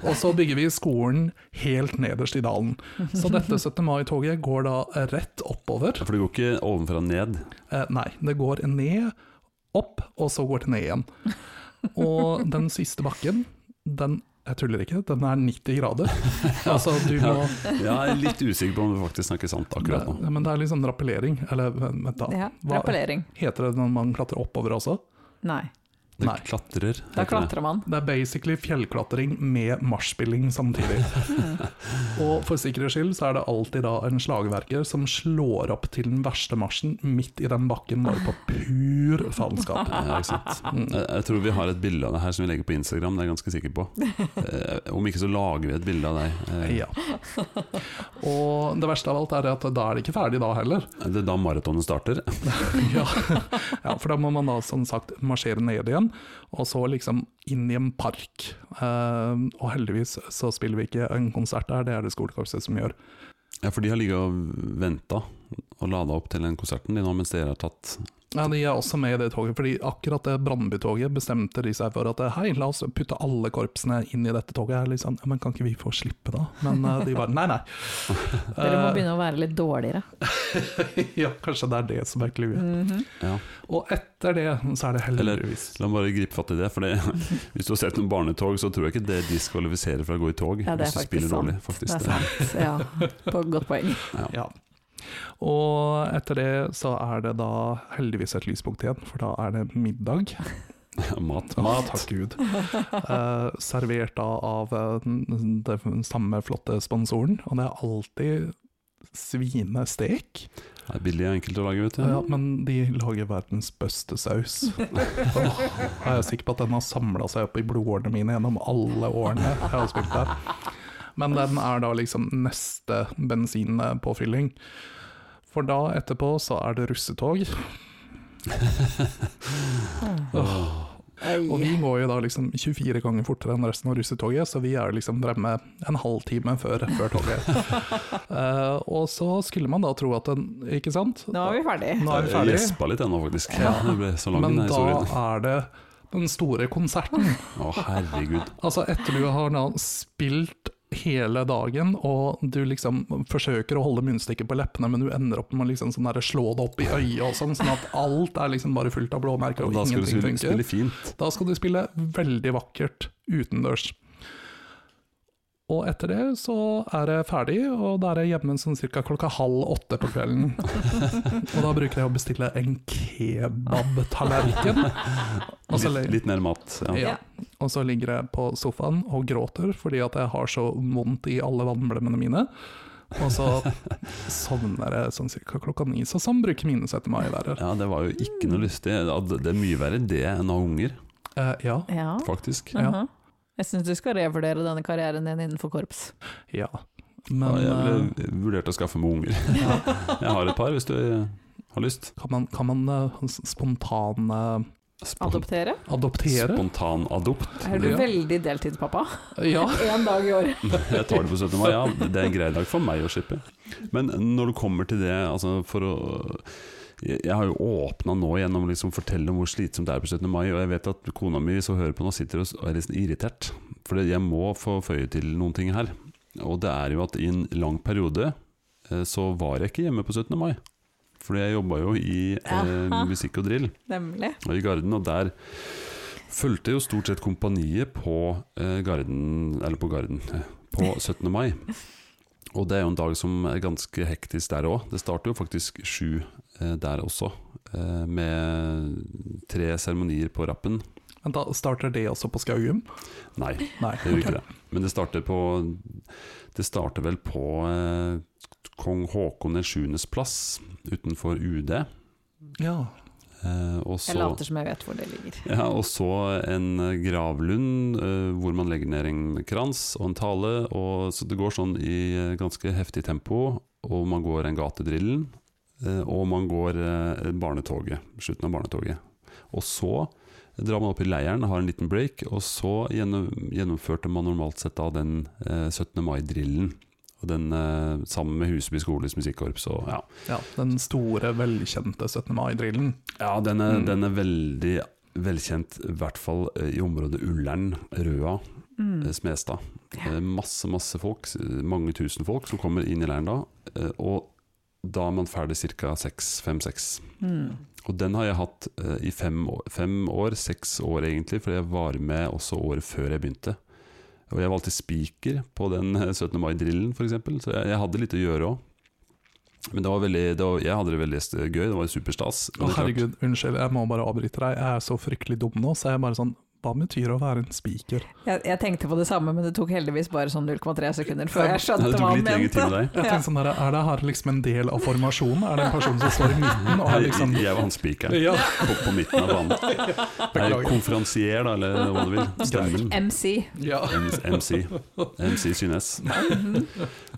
Og så bygger vi skolen helt nederst i dalen. Så dette 17. mai-toget går da rett oppover. For det går ikke ovenfra og ned. Eh, nei, det går ned, opp, og så går det ned igjen. Og den siste bakken, den Jeg tuller ikke, den er 90 <laughs> grader. altså, du må Jeg er litt usikker på om du faktisk snakker sant akkurat nå. Men det er liksom rappellering, eller vent da. Ja, Hva- rappellering. Heter det når man klatrer oppover også? Nei, Det Nei. klatrer. da heter det. klatrer man. Det er basically fjellklatring med marshspilling samtidig. Og for sikkerhets skyld så er det alltid da en slagverker som slår opp til den verste marsjen midt i den bakken, bare på pur faenskap. Ja, ikke sant. <laughs> Mm. Jeg, jeg tror vi har et bilde av det her som vi legger på Instagram, det er jeg ganske sikker på. Eh, om ikke så lager vi et bilde av deg. Eh, Ja. Og det verste av alt er at da er det ikke ferdig da heller. <laughs> Det er da maratonet starter. Ja. ja, for da må man da som sagt marsjere ned igjen, og så liksom inn i en park. Eh, og heldigvis så spiller vi ikke en konsert der, det er det skolekorpset som gjør. Ja, for de har ligget og venta og lada opp til den konserten de nå, mens dere har tatt Ja, De er også med i det toget, fordi akkurat det Brandby-toget bestemte de seg for at eh, hei, la oss putte alle korpsene inn i dette toget. Jeg er litt sånn, ja, men kan ikke vi få slippe da? Men eh, de bare nei, nei. <laughs> Eh, Dere må begynne å være litt dårligere. <laughs> ja, kanskje det er det som er clouet. Mhm. Ja. Og etter det så er det heldigvis La meg bare gripe fatt i det, for det, <laughs> hvis du har sett noen barnetog, så tror jeg ikke det diskvalifiserer fra å gå i tog. Ja, det hvis er du faktisk spiller sant. dårlig, faktisk. Det er sant, ja. På godt poeng. Ja. Og etter det så er det da heldigvis et lyspunkt igjen, for da er det middag. Ja, mat. Ja, takk Gud. Eh, servert da av eh, den den samme flotte sponsoren, og det er alltid svinestek. Det er billig og enkelt å lage, vet du. Ja, men de lager verdens beste saus. Åh, jeg er sikker på at den har samla seg opp i blodårene mine gjennom alle årene jeg har spilt der. Men den er da liksom neste bensinpåfylling. For da etterpå så er det russetog, og vi går jo da liksom 24 ganger fortere enn resten av russetoget, så vi er jo liksom fremme en halvtime før, før toget. <laughs> Eh, og så skulle man da tro at den Ikke sant? Nå er vi ferdig. Nå er vi Jeg ferdig. gjespa litt ennå, faktisk. Ja. Ja. Det ble så lang Men den da historien. er det den store konserten. Å, herregud. Altså, etter du har da spilt hele dagen, og du liksom forsøker å holde munnstykket på leppene, men du ender opp med å liksom sånn derre slå det opp i øyet og sånn, sånn at alt er liksom bare fullt av blåmerker Og og da skal du ingenting spille, funker. spille fint. Da skal du spille veldig vakkert utendørs. Og etter det så er det ferdig, og da er jeg hjemme sånn cirka klokka halv åtte på <laughs> kvelden. og da bruker jeg å bestille en kebabtallerken. Og så Litt, sånn. le- litt mer mat. Ja. ja. Og så ligger jeg på sofaen og gråter fordi at jeg har så vondt i alle vannblemmene mine. Og så sovner jeg sånn cirka klokka ni. Så sånn bruker mine 17. mai-værer. ja, det var jo ikke noe lystig. Ja, Det det er mye verre det enn å ha unger, Eh, ja, Ja. faktisk. Ja. Mhm. Jeg syns du skal revurdere denne karrieren din innenfor korps. ja. Ja, Men jeg eh, ville vurdert å skaffe meg unger. <laughs> Jeg har et par, hvis du har lyst. kan man, kan man eh, s- spontan eh, Spon Adoptere? adoptere? Spontanadopt. Er du Ja. <laughs> veldig deltidspappa? ja. Ah. Én dag i året. Jeg tar det på 17. mai, ja. Det er en grei dag for meg å shippe. Men når du kommer til det, altså for å jeg jeg har jo åpna nå gjennom å liksom fortelle om hvor slitsomt det er på 17. mai, og jeg vet at kona mi hvis hun hører på nå, sitter og s- og er litt irritert. For jeg må få føye til noen ting her. Og det er jo at i en lang periode eh, så var jeg ikke hjemme på 17. mai. Fordi jeg jobba jo i eh, Aha. musikk og drill Nemlig. og i Garden, og der fulgte jo stort sett kompaniet på eh, Garden, eller på Garden, eh, på 17. mai. Og det er jo en dag som er ganske hektisk der òg. Det starter jo faktisk sju eh, der også, eh, med tre seremonier på rappen. Men da starter det også på Skaugum? Nei, Nei. det gjør ikke det. Men det starter på Det starter vel på eh, kong Haakon 7.s plass utenfor UD. Ja. Eh, og Jeg så later som jeg vet hvor det ligger. Ja, og så en gravlund eh, hvor man legger ned en krans og en tale. Og, så det går sånn i eh, ganske heftig tempo, og man går en gatedrillen. eh, og man går eh, barnetoget, slutten av barnetoget. Og så drar man opp i leiren, har en liten break, og så gjennom, gjennomførte man normalt sett da den eh, 17. mai-drillen. Og den eh, sammen med Huseby skoles musikkorps og ja. ja. Den store, velkjente 17. mai-drillen. Ja, den er, Mm. den er veldig velkjent, i hvert fall eh, i området Ullern, Røa, Mm. eh, Smestad. Ja. Eh, Masse, masse folk, s- mange tusen folk som kommer inn i leiren da, eh, og da er man ferdig ca. fem-seks. Mm. Og den har jeg hatt eh, i fem år, fem år, seks år egentlig, for jeg var med også året før jeg begynte. Og jeg valgte spiker på den eh, 17. mai-drillen, f.eks., så jeg, jeg hadde litt å gjøre òg. Men det var veldig, det var, jeg hadde det veldig st- gøy, det var superstas. Men Å, det er klart- herregud, unnskyld, jeg må bare avbryte deg. Jeg er så fryktelig dum nå, så jeg er bare sånn Hva betyr å være en spiker? Jeg, jeg tenkte på det samme, men det tok heldigvis bare sånn 0,3 sekunder før jeg Ja, skjønte det hva tok han litt lengre tid mente. med deg. Jeg tenkte sånn der, Er det her liksom en del av formasjonen? Er det en person som står i midten og er liksom Jeg, jeg var han spikeren Ja, på, på midten av <laughs> banen. Nei, beklager. Konferansier, da, eller hva du vil. Stemmen. MC. Ja. MC. MC Synnes.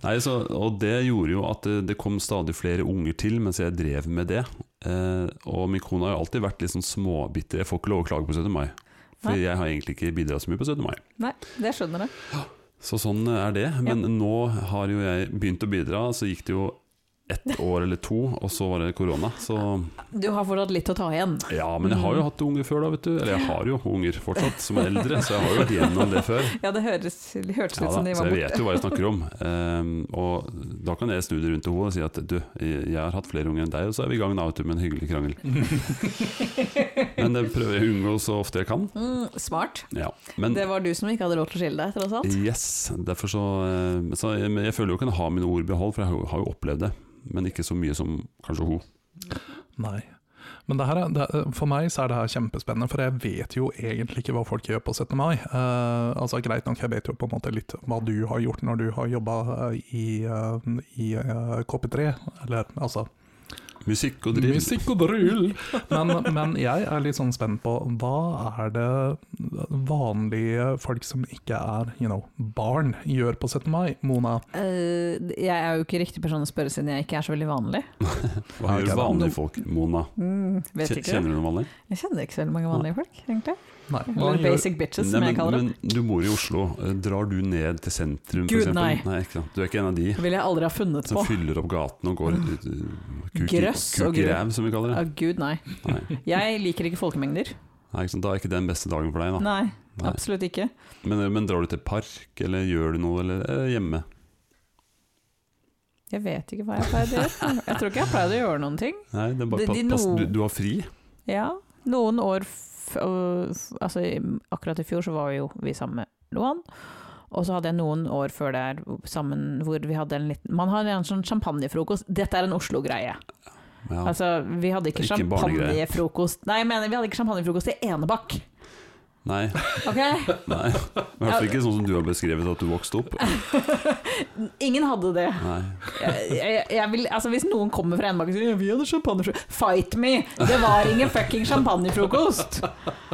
Nei, så, og det gjorde jo at det, det kom stadig flere unger til mens jeg drev med det. Eh, og min kone har jo alltid vært litt sånn småbitter. Jeg får ikke lov å klage på 17. mai. For Nei. jeg har egentlig ikke bidratt så mye på 17. mai. Nei, det skjønner jeg. Så sånn er det. Men nå har jo jeg begynt å bidra. Så gikk det jo ett år eller to, og så var det korona. Så Du har fortsatt litt å ta igjen. ja, men jeg har Mm. jo hatt unger før da, vet du. Eller jeg har jo unger fortsatt, som er eldre, så jeg har jo vært gjennom det <laughs> før. Ja, det høres, det hørtes Ja ut da, som de så var jeg borte. vet jo hva jeg snakker om. Ehm, og da kan jeg snu det rundt til henne og si at du, jeg har hatt flere unger enn deg, og så er vi i gang nå, vet du, med en hyggelig <laughs> krangel. Men det prøver jeg å unngå så ofte jeg kan. Mm, smart. Ja. Men Det var du som ikke hadde lov til å skille deg, tross alt. yes, derfor så, eh, så jeg, Men jeg føler jo ikke jeg har mine ord i behold, for jeg har jo- har jo opplevd det. Men ikke så mye som kanskje hun. Nei. Men det her er, det, er- for meg så er det her kjempespennende, for jeg vet jo egentlig ikke hva folk gjør på 17. mai. Eh, altså Greit nok, jeg vet jo på en måte litt hva du har gjort når du har jobba i, eh, i eh, KP3, eller altså Musikk og driv. Musikk og drull! Men, men jeg er litt sånn spent på hva er det vanlige folk som ikke er you know, barn, gjør på 17. mai? Mona, Eh, jeg er jo ikke riktig person å spørre siden jeg ikke er så veldig vanlig. Mm, Hva gjør Ok, da. vanlige folk, Mona? vet Kje- ikke. Kjenner du noen vanlige? Jeg kjenner ikke så veldig mange vanlige folk, egentlig. nei, hva Eller gjør, basic bitches, Nei, som jeg men, kaller dem. men du bor i Oslo. Eh, Drar du ned til sentrum, Gud, f.eks.? nei. nei ikke sant? Du er ikke en av de? Det ville jeg aldri ha funnet Som på. fyller opp gaten og går ut, uh, kuk, i- Grøss og kuk i grø- ræv, som vi kaller Å, det. gud, nei. Nei. Jeg liker ikke folkemengder. Nei, ikke sant? Da er ikke det den beste dagen for deg. Da. Nei, Nei. absolutt ikke. Men, eh, men drar du til park, eller gjør du noe eller, eller hjemme? Jeg vet ikke hva jeg pleide å gjøre. Jeg tror ikke jeg pleide å gjøre noen ting. Nei, det er bare Det- pa- de pass, no- du, du har fri. Ja, noen år f øh, f Altså i- akkurat i fjor så var jo vi sammen med Loan. Og så hadde jeg noen år før der sammen hvor vi hadde en liten Man har en sånn champagnefrokost. Dette er en Oslo-greie. Ja. Altså, vi hadde ikke, Ikke en barnegreie. champagnefrokost Nei, jeg mener, vi hadde ikke champagnefrokost i Enebakk. Nei, Ok? nei. I hvert fall ikke sånn som du har beskrevet at du vokste opp. Ingen hadde det. Nei. Jeg, jeg, jeg vil, altså, hvis noen kommer fra Enebakk og sier «Ja, 'vi hadde champagnefrokost' Fight me! Det var ingen fucking champagnefrokost!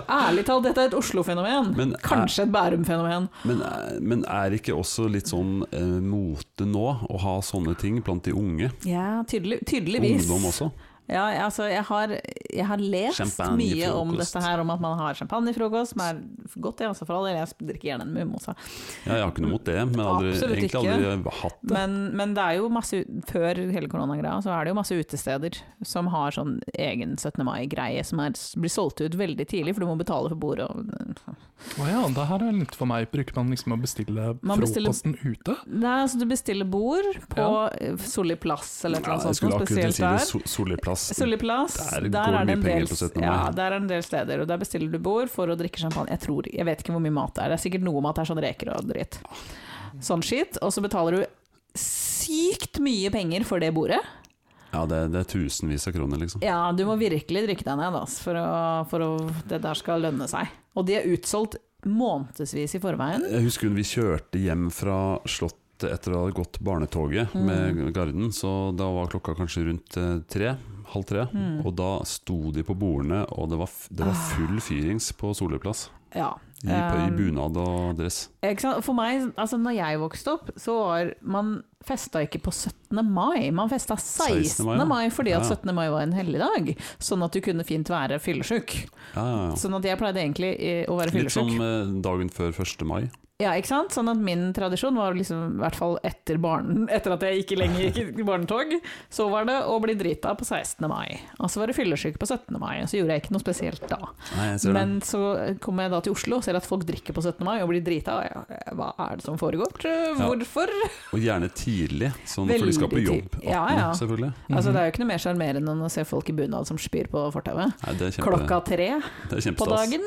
Ærlig talt, dette er et Oslo-fenomen. Men er- Kanskje et Bærum-fenomen. Men, er- men er ikke også litt sånn eh, mote nå å ha sånne ting blant de unge? Ja, tydelig, tydeligvis. Ungdom også? Ja, altså, jeg har, jeg har lest mye om Champagnefrokost. dette her, om at man har champagnefrokost, som er godt, det, altså, for all del. Jeg drikker gjerne en mimosa. Ja, jeg har ikke noe mot det, men aldri, Absolutt egentlig aldri hatt det. Men, men det er jo masse, ut- før hele koronagreia, så er det jo masse utesteder som har sånn egen 17. mai-greie, som er, blir solgt ut veldig tidlig, for du må betale for bordet. Og, å ja, det her er litt for meg. Bruker man liksom å bestille Man bestiller- frokosten ute? Nei, altså du bestiller bord på eh, Solli plass eller et Ja, eller jeg annet skulle akkurat sånt, noe til å spesielt si det. der. Sol- Solli plass. Solli plass, Der går der, det er det en mye del, penger på 17. mai. ja, der er en del steder, og der bestiller du bord for å drikke champagne. Jeg tror, jeg vet ikke hvor mye mat det er, det er sikkert noe mat det er sånn reker og dritt. Sånn skitt, og så betaler du sykt mye penger for det bordet. Ja, det, det er tusenvis av kroner, liksom. Ja, du må virkelig drikke deg ned ass, for, å, for å, det der skal lønne seg. Og de er utsolgt månedsvis i forveien. Jeg husker vi kjørte hjem fra Slottet etter å ha gått barnetoget Mm. med Garden, så da var klokka kanskje rundt eh, tre, halv tre, Mm. og da sto de på bordene, og det var, f- det var full fyrings på Solli plass. Ah. Ja. I, i bunad og dress. Ikke sant? For meg, altså når jeg vokste opp, så var man festa ikke på 17. mai, man festa 16. 16. mai, mai, ja. fordi at Ja. 17. mai var en helligdag. Sånn at du kunne fint være fyllesyk. Ja, ja, ja. Sånn at jeg pleide egentlig eh, å være Litt som fyllesyk. eh, dagen før 1. mai. Ja, ikke sant? Sånn at min tradisjon var liksom, i hvert fall etter barnen, <laughs> etter at jeg ikke lenger gikk i barnetog, så var det å bli drita på 16. mai. Og så var det fyllesyk på 17. mai, og så gjorde jeg ikke noe spesielt da. Nei, jeg ser det. Men så kommer jeg da til Oslo og ser at folk drikker på 17. mai og blir drita. og jeg, Hva er det som foregår? Hvorfor? Og gjerne tidlig, sånn, for de skal på Veldig jobb. tidlig. Ja, 18, ja. Selvfølgelig. Altså, det er jo ikke noe mer sjarmerende enn å se folk i bunad som spyr på fortauet. Nei, det er kjempe, Klokka tre det er på kjempestas. dagen.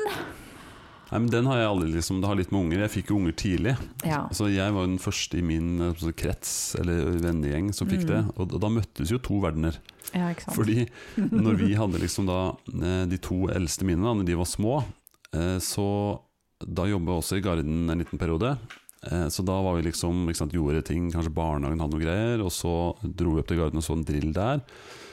Nei, men den har jeg aldri liksom Det har litt med unger Jeg fikk jo unger tidlig. Ja. Så jeg var jo den første i min eh, så krets eller vennegjeng som fikk Mm. det. Og, og da møttes jo to verdener. ja, ikke sant. <laughs> Fordi når vi hadde liksom da eh, de to eldste mine, da når de var små, eh, så da jobba jeg også i Garden en liten periode. Eh, Så da var vi liksom, ikke sant, gjorde ting, kanskje barnehagen hadde noe greier, og så dro vi opp til Garden og så en drill der.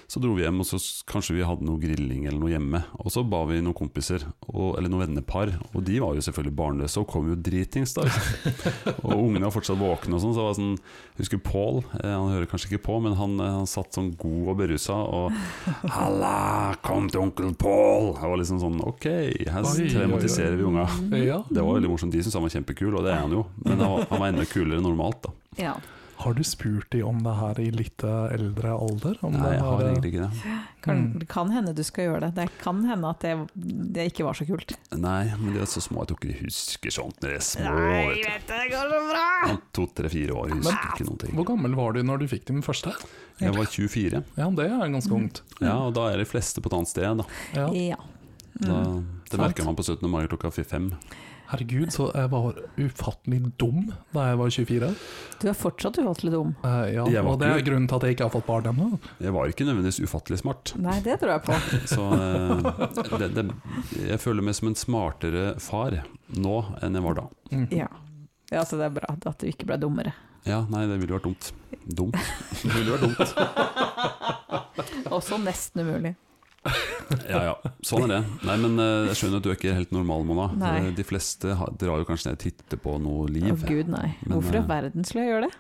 Så dro vi hjem, og så s- kanskje vi hadde noe grilling eller noe hjemme. Og så ba vi noen kompiser, og, eller noen vennepar, og de var jo selvfølgelig barnløse og kom jo dritings da. <laughs> Og ungene var fortsatt våkne og sånn, så det var sånn, jeg husker Paul, eh, han hører kanskje ikke på, men han, eh, han satt sånn god og beruset, og Halla, kom til onkel Paul! Det var liksom sånn, ok, her Oi, oi, oi. traumatiserer vi unga. Ja. Mm. Det var veldig morsomt. De syntes han var kjempekul, og det er han jo. Men han var, han var enda kulere enn normalt, da. Ja. Har du spurt de om det her i litt eh, eldre alder? Om Nei, det jeg var, har eh, egentlig ikke det. Kan, Mhm. Mm. det kan hende du skal gjøre det. Det kan hende at det, det ikke var så kult. Nei, men de er så små, jeg tror ikke de husker sånt når de er små. vet du. Sånn det går så bra! To-tre-fire år, jeg husker ikke noen ting. Hvor gammel var du når du fikk din første? Jeg var 24, Ja, det er ganske ungt. ja, og da er de fleste på et annet sted, da. Ja. Ja. da Mm. det merker man på 17. mai klokka fem. Herregud, så jeg var ufattelig dum da jeg var 24. Du er fortsatt ufattelig dum. Eh, ja, Jeg var og det er ikke- grunnen til at jeg ikke har fått barn ennå. Jeg var ikke nødvendigvis ufattelig smart, Nei, det tror jeg på. så eh, det, det, jeg føler meg som en smartere far nå enn jeg var da. Mm. Ja. ja, så det er bra at du ikke ble dummere. Ja, nei, det ville vært dumt. Dumt. <laughs> Det ville vært dumt. Også nesten umulig. Ja, ja. Sånn er det. Nei, men eh, Jeg skjønner at du er ikke helt normal, Mona. Nei. Eh, De fleste har- drar jo kanskje ned og titter på noe Å liv. Altså, gud, nei. Men, Hvorfor i eh, verden skulle jeg gjøre det?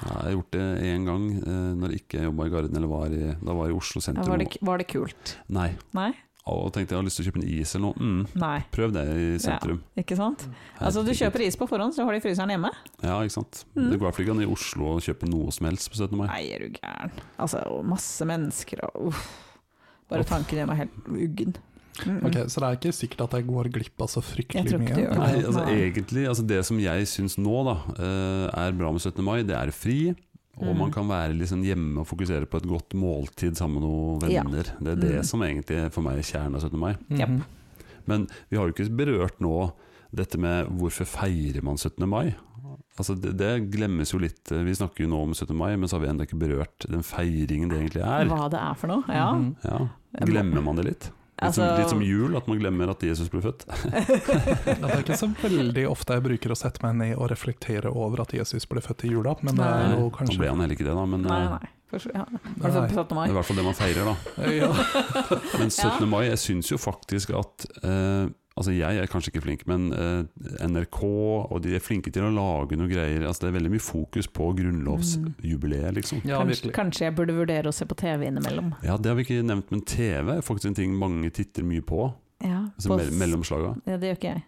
Ja, jeg har gjort det én gang eh, når jeg ikke jobba i Garden, eller var i, da var jeg i Oslo Ja, sentrum. Var det, var det kult? Nei. Nei? Og tenkte jeg har lyst til å kjøpe en is eller noe. Mm, Nei, prøv det i sentrum. ikke sant? Altså, du Herregud. kjøper is på forhånd, så har de fryseren hjemme? Ja, ikke sant. Mm. Det går i hvert fall ikke an i Oslo å kjøpe noe som helst på 17. mai. Nei, er du gæren. Altså, og masse mennesker og uff. Bare Uff. tanken gjør meg helt uggen. Mm, mm. Ok, Så det er ikke sikkert at jeg går glipp av så Jeg fryktelig tror ikke mye. du gjør Nei, altså Nei. egentlig altså Det som jeg syns nå da eh, er bra med 17. mai, det er fri. Og Mm. man kan være liksom hjemme og fokusere på et godt måltid sammen med noen Ja. venner. Det er det Mm. som egentlig er for meg er kjernen av 17. mai. Mhm. Men vi har jo ikke berørt nå dette med hvorfor feirer man 17. mai? Altså det, det glemmes jo litt. Vi snakker jo nå om 17. mai, men så har vi ennå ikke berørt den feiringen det egentlig er. Hva det er for noe? Ja. Mhm. Ja. Glemmer man det litt? Litt, som, Altså- litt som jul, at man glemmer at Jesus ble født. Ja, Det er ikke så veldig ofte jeg bruker å sette meg ned og reflektere over at Jesus ble født i jula, men det er Nei. Nå jo ble kanskje han heller ikke det, da, men Nei, eh, nei. Forstår- ja. Har du fått på 17. mai? det er i hvert fall det man feirer, da. ja. <laughs> Men 17. mai, jeg syns jo faktisk at eh, Altså jeg er kanskje ikke flink, men eh, NRK og de er flinke til å lage noe greier. Altså Det er veldig mye fokus på Mm. grunnlovsjubileet, liksom. ja, Kanskje, virkelig. kanskje jeg burde vurdere å se på TV innimellom. Ja, det har vi ikke nevnt, men TV er faktisk en ting mange titter mye på. Ja, Altså på mell s- mellomslaga. ja, det gjør ikke jeg.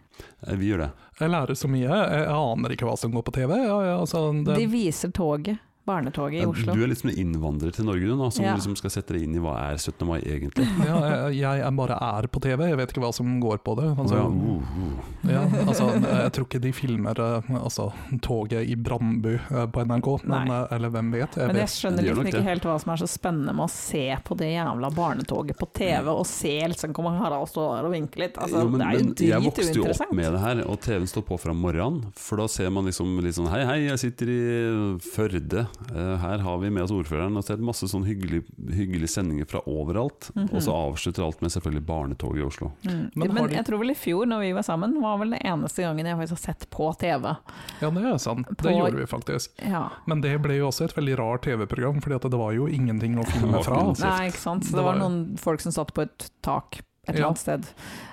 Eh, vi gjør det. Jeg lærer så mye, jeg jeg aner ikke hva som går på TV. Ja, ja, altså, det, De viser toget, barnetoget i Ja, Oslo. Du er litt som en innvandrer til Norge, du nå, som Ja. liksom skal sette deg inn i hva er 17. mai <laughs> egentlig. <laughs> ja, jeg, jeg er bare er på TV, jeg vet ikke hva som går på det. Altså, Altså, ja, uh, uh. ja, altså, jeg tror ikke de filmer eh, altså, toget i Brandbu eh, på NRK, men, Nei. eh, eller hvem vet. Jeg Men jeg vet. skjønner Det gjør liksom nok ikke det. helt hva som er så spennende med å se på det jævla barnetoget på TV, og se liksom kommer Harald stå der og vinke litt. Altså, Jo, men, det er jo men jeg drit vokste jo opp uinteressant. med det her, og TV-en står på fra morgenen. For da ser man liksom litt sånn Hei, hei, jeg sitter i Førde. Eh, Her har vi med oss ordføreren. Og så er det masse sånn hyggelige hyggelig sendinger fra overalt. Mhm. Og så avslutter alt med selvfølgelig barnetoget i Oslo. Mm. Men Men, har de- jeg tror vel i fjor, når vi var sammen, var vel den eneste gangen jeg faktisk har sett på TV. Ja, det er sant. På- Det gjorde vi faktisk. Ja. Men det ble jo også et veldig rart TV-program, fordi at det var jo ingenting å filme Det var fra. ikke Altså. noe. Nei, ikke sant. Så Det det var var jo- noen folk som satt på et tak et eller Ja. annet sted.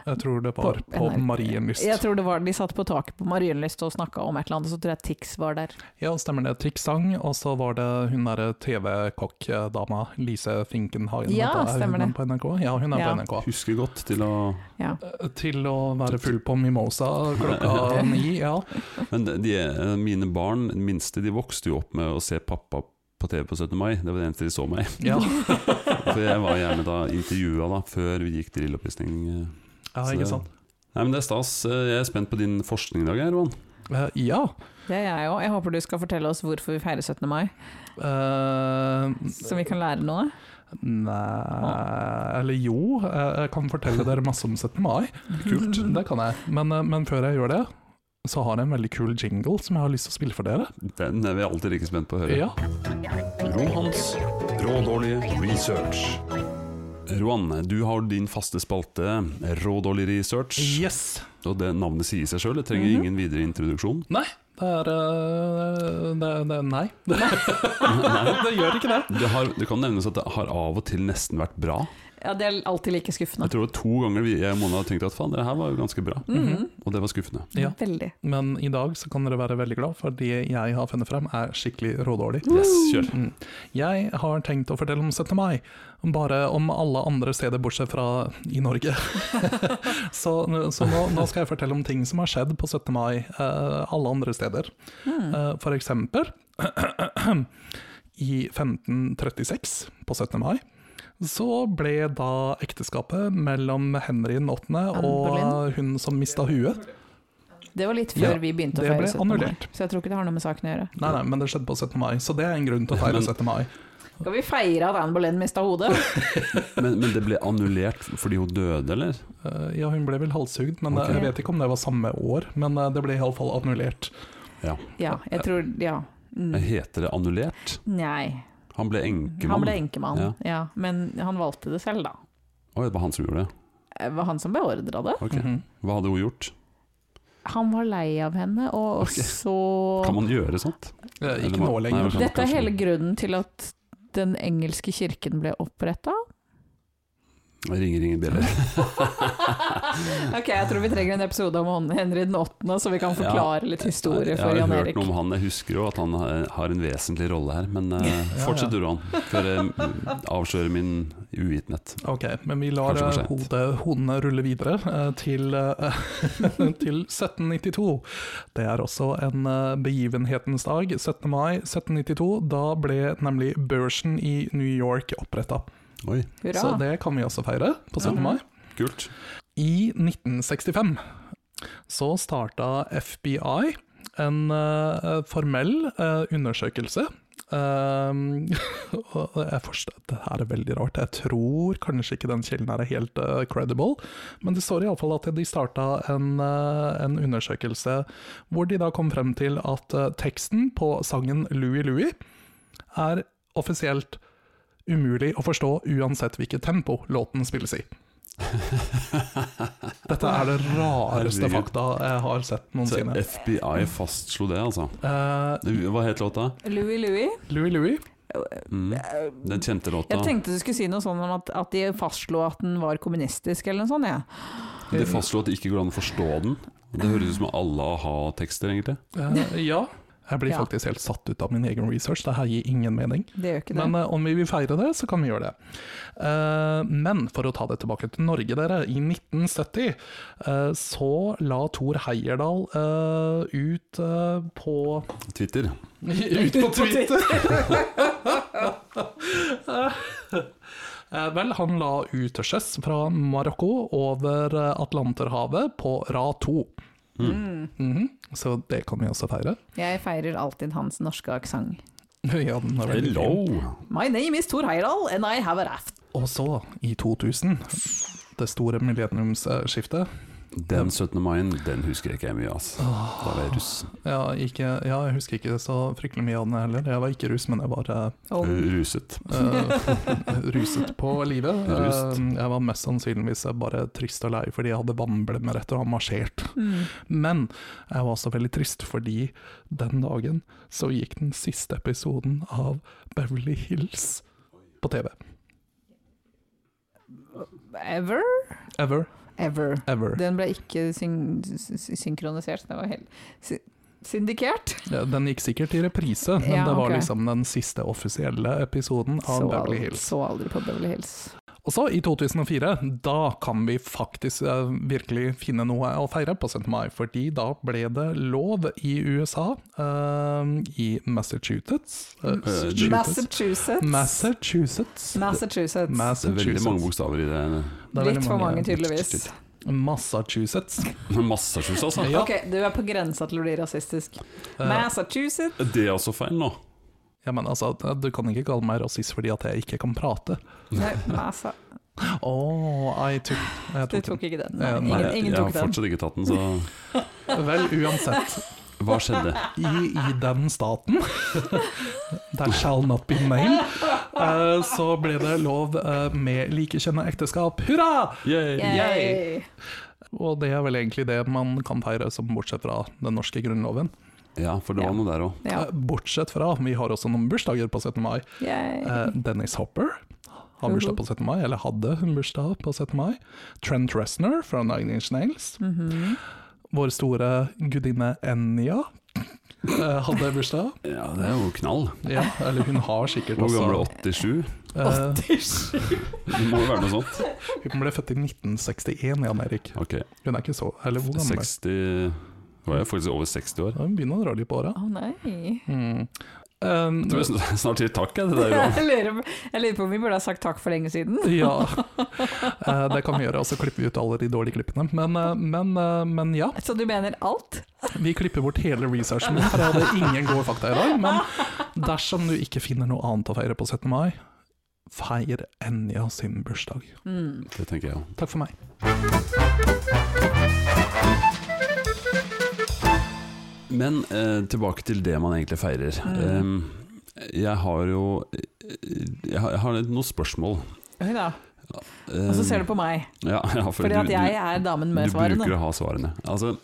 Jeg tror det var på, NRK. Marienlyst. Jeg tror det var, De satt på taket på Marienlyst og snakka om et eller annet, og så tror jeg Tix var der. Ja, stemmer det. Tix sang, og så var det hun derre TV-kokk-dama Lise Finkenhagen. Ja, heter hun. stemmer er hun det. På NRK? Ja, hun er Ja. på NRK. Husker godt til å Ja. Eh, Til å være full på mimosa klokka ni, <laughs> ja. Men de, eh, mine barn, den minste, de vokste jo opp med å se pappa på TV på 17. mai. Det var det eneste de så meg. <laughs> Ja, For jeg var gjerne da intervjua da, før vi gikk til ildoppvisning. ja Så ikke det- sant. Nei, men det er stas. Eh, Jeg er spent på din forskning i dag, jeg, Roan. Eh, Ja. <laughs> Det er jeg òg. Jeg håper du skal fortelle oss hvorfor vi feirer 17. mai, Eh, så vi kan lære noe. Nei Eller jo, jeg jeg kan fortelle dere masse om 17. mai. Kult. Det kan jeg. Men, eh, men før jeg gjør det, så har jeg en veldig kul jingle som jeg har lyst til å spille for dere. Den er vi alltid like spent på å høre. Ja. Rohans rådårlige research. Rohan, du har din faste spalte Rådårlig research. Yes! Og det navnet sier seg sjøl, det trenger Mhm. ingen videre introduksjon. Nei. Det er eh, det, det, Nei. <laughs> det gjør ikke det. Det, har, det kan nevnes at det har av og til nesten vært bra. Ja, det er alltid like skuffende. Jeg tror det er to ganger vi jeg og Mona har tenkt at faen, det her var jo ganske bra. Mhm. Og det var skuffende. Ja. Veldig. Men i dag så kan dere være veldig glad, for det jeg har funnet frem, er skikkelig rådårlig. Yes, kjør. Mm. Jeg har tenkt å fortelle om 17. mai, bare om alle andre steder bortsett fra i Norge. <laughs> så så nå, nå skal jeg fortelle om ting som har skjedd på 17. mai eh, alle andre steder. Mm. Eh, for eksempel <clears throat> i 1536, på 17. mai, så ble da ekteskapet mellom Henry den 8. Anne og hun som mista huet Det var litt Ja, før vi begynte å det feire ble 17. mai, annullert. så jeg tror ikke det har noe med saken å gjøre. Nei, nei, men det skjedde på 17. mai, så det er en grunn til å Men- feire 17. mai. Skal vi feire at Anne Boleyn mista hodet? <laughs> Men, men det ble annullert fordi hun døde, eller? Eh, Ja, hun ble vel halshugd, men eh, Ok. jeg vet ikke om det var samme år. Men eh, det ble iallfall annullert. Ja, jeg tror Ja. Mm. Heter det annullert? Nei. Han ble enkemann. Han ble enkemann, Ja. ja. Men han valgte det selv, da. Oi, det var han som gjorde det. Det var han som beordra det. Ok. Mhm. Hva hadde hun gjort? Han var lei av henne, og Ok. så Kan man gjøre sånt? Eh, Eller Ikke hva? nå Nei, lenger. vel. Kanskje- Dette er hele kanskje- grunnen til at den engelske kirken ble oppretta. <laughs> Ringer ingen bjeller. ok, jeg tror vi trenger en episode om Henry den åttende, så vi kan forklare litt historie for Jeg Jan har Erik. hørt noe om han, jeg husker jo at han eh, har en vesentlig rolle her. Men eh, ja. fortsett du, Rohan, før jeg mm, avslører min uvitenhet. Ok, men vi lar Kanskje for eh, sent. hodet, hodene rulle videre eh, til, eh, <laughs> til 1792. Det er også en eh, begivenhetens dag, 17. mai 1792. Da ble nemlig børsen i New York oppretta. Oi, Hurra. Så det kan vi også feire på 17. Ja. mai. kult. I 1965 så starta FBI en eh, formell eh, undersøkelse. Um, <laughs> og jeg forstår, det her er veldig rart. Jeg tror kanskje ikke den kilden her er helt eh, credible, men det står iallfall at de starta en, eh, en undersøkelse hvor de da kom frem til at eh, teksten på sangen Louie Louie er offisielt umulig å forstå uansett hvilket tempo låten spilles i. Dette er det rareste Herregud. fakta jeg har sett Så noensinne. FBI fastslo det, altså. Eh, Hva het låta? Louis Louis. Louie Louie Mm. Den kjente låta. Jeg tenkte du skulle si noe sånn om at, at de fastslo at den var kommunistisk, eller noe sånt. Ja. Det fastslo at det ikke går an å forstå den. Det høres ut som alle a-ha-tekster, egentlig. <laughs> Eh, ja. Jeg blir Ja. faktisk helt satt ut av min egen research, det her gir ingen mening. Det gjør ikke det. Men eh, om vi vil feire det, så kan vi gjøre det. Eh, men for å ta det tilbake til Norge, dere. I 1970 eh, så la Thor Heyerdahl eh, ut eh, på Twitter. Ut på Twitter! <laughs> Eh, Vel, han la ut til sjøs fra Marokko over eh, Atlanterhavet på Ra 2. Mhm, Så det kan vi også feire. <laughs> Jeg feirer alltid hans norske aksent. Ja, den er veldig fin. Hello! My name is Thor Heyerdahl, and I have a raft. Og så, i 2000, det store millenniumsskiftet Den 17. maien, den husker jeg ikke jeg mye, altså. Da var jeg russ. ja, ikke, ja, jeg husker ikke så fryktelig mye av den heller. Jeg var ikke rus, men jeg var eh, Oh. Ruset. eh, <laughs> ruset på livet. Ruset. Eh, jeg var mest sannsynligvis bare trist og lei fordi jeg hadde vannblemmer etter å ha marsjert. Mm. Men jeg var også veldig trist fordi den dagen så gikk den siste episoden av Beverly Hills på TV. Ever? Ever, Ever. ever. Den ble ikke syn syn- synkronisert. Det var helt sy Syndikert? Ja, Den gikk sikkert i reprise, men Ja, det var ok. liksom den siste offisielle episoden Så av Beverly aldri- Hills. Så aldri på Beverly Hills. Og så, i 2004, da kan vi faktisk eh, virkelig finne noe å feire på 17. mai, fordi da ble det lov i USA, eh, i Massachusetts eh, Mm. Massachusetts. Massachusetts. Massachusetts. Massachusetts. Det er veldig mange Massachusetts. bokstaver i det. Det er veldig Litt for mange, tydeligvis. Massachusetts. Eh, Massachusetts, altså. Ja. Ok, du er på grensa til å bli rasistisk. Eh, Massachusetts. Det er også feil nå. Ja, men altså, Du kan ikke kalle meg rasist fordi at jeg ikke kan prate. Nei, men <laughs> altså, Å, jeg tok, jeg du tok tok ikke den. Nei, Ja, nei, ingen, ingen jeg har tok den. fortsatt ikke tatt den, så den. Vel, uansett. hva skjedde? I, i den staten, <laughs> that shall not be named, eh, så ble det lov eh, med likekjønnet ekteskap. Hurra! Yay. Yay. Og det er vel egentlig det man kan feire som bortsett fra den norske grunnloven. Ja, for det var noe der òg. Ja. Eh, Bortsett fra, vi har også noen bursdager på 17. mai. Eh, Yay. Dennis Hopper har bursdag på 17. mai, eller hadde hun bursdag på 17. mai. Trent Reznor fra Nine Inch Nails. Mhm. Vår store gudinne Enja eh, hadde bursdag. Ja, det er jo knall. Ja, eller hun har sikkert Hvor også gammel er du? 87? Eh, Det må jo være noe sånt. Hun ble født i 1961, Jan Erik. Ok, Hun er ikke så Eller hvor gammel? er hun? 60 Nå er jeg faktisk over 60 år. Ja, Hun begynner å dra litt på åra. Å <laughs> nei. Mm. Eh, Du er sn- snart sier takk, jeg, til deg, Rohan. <laughs> Jeg lurer, jeg lurer på om vi burde ha sagt takk for lenge siden. <laughs> ja. Eh, det kan vi gjøre, og så klipper vi ut alle de dårlige klippene. Men, eh, men, eh, men ja. Så du mener alt? Vi klipper bort hele researchen min, for jeg hadde ingen gode fakta i dag. Men dersom du ikke finner noe annet å feire på 17. mai, feir Enja sin bursdag. Mm. Det tenker jeg òg. Takk for meg. Men eh, tilbake til det man egentlig feirer. Mm. Eh, jeg har jo eh, Jeg har, jeg har litt- noen spørsmål. Oi da. Og så ser du på meg, <laughs> ja, ja, Eh, for fordi du- at jeg er damen med Du bruker svarene. å ha svarene. Altså,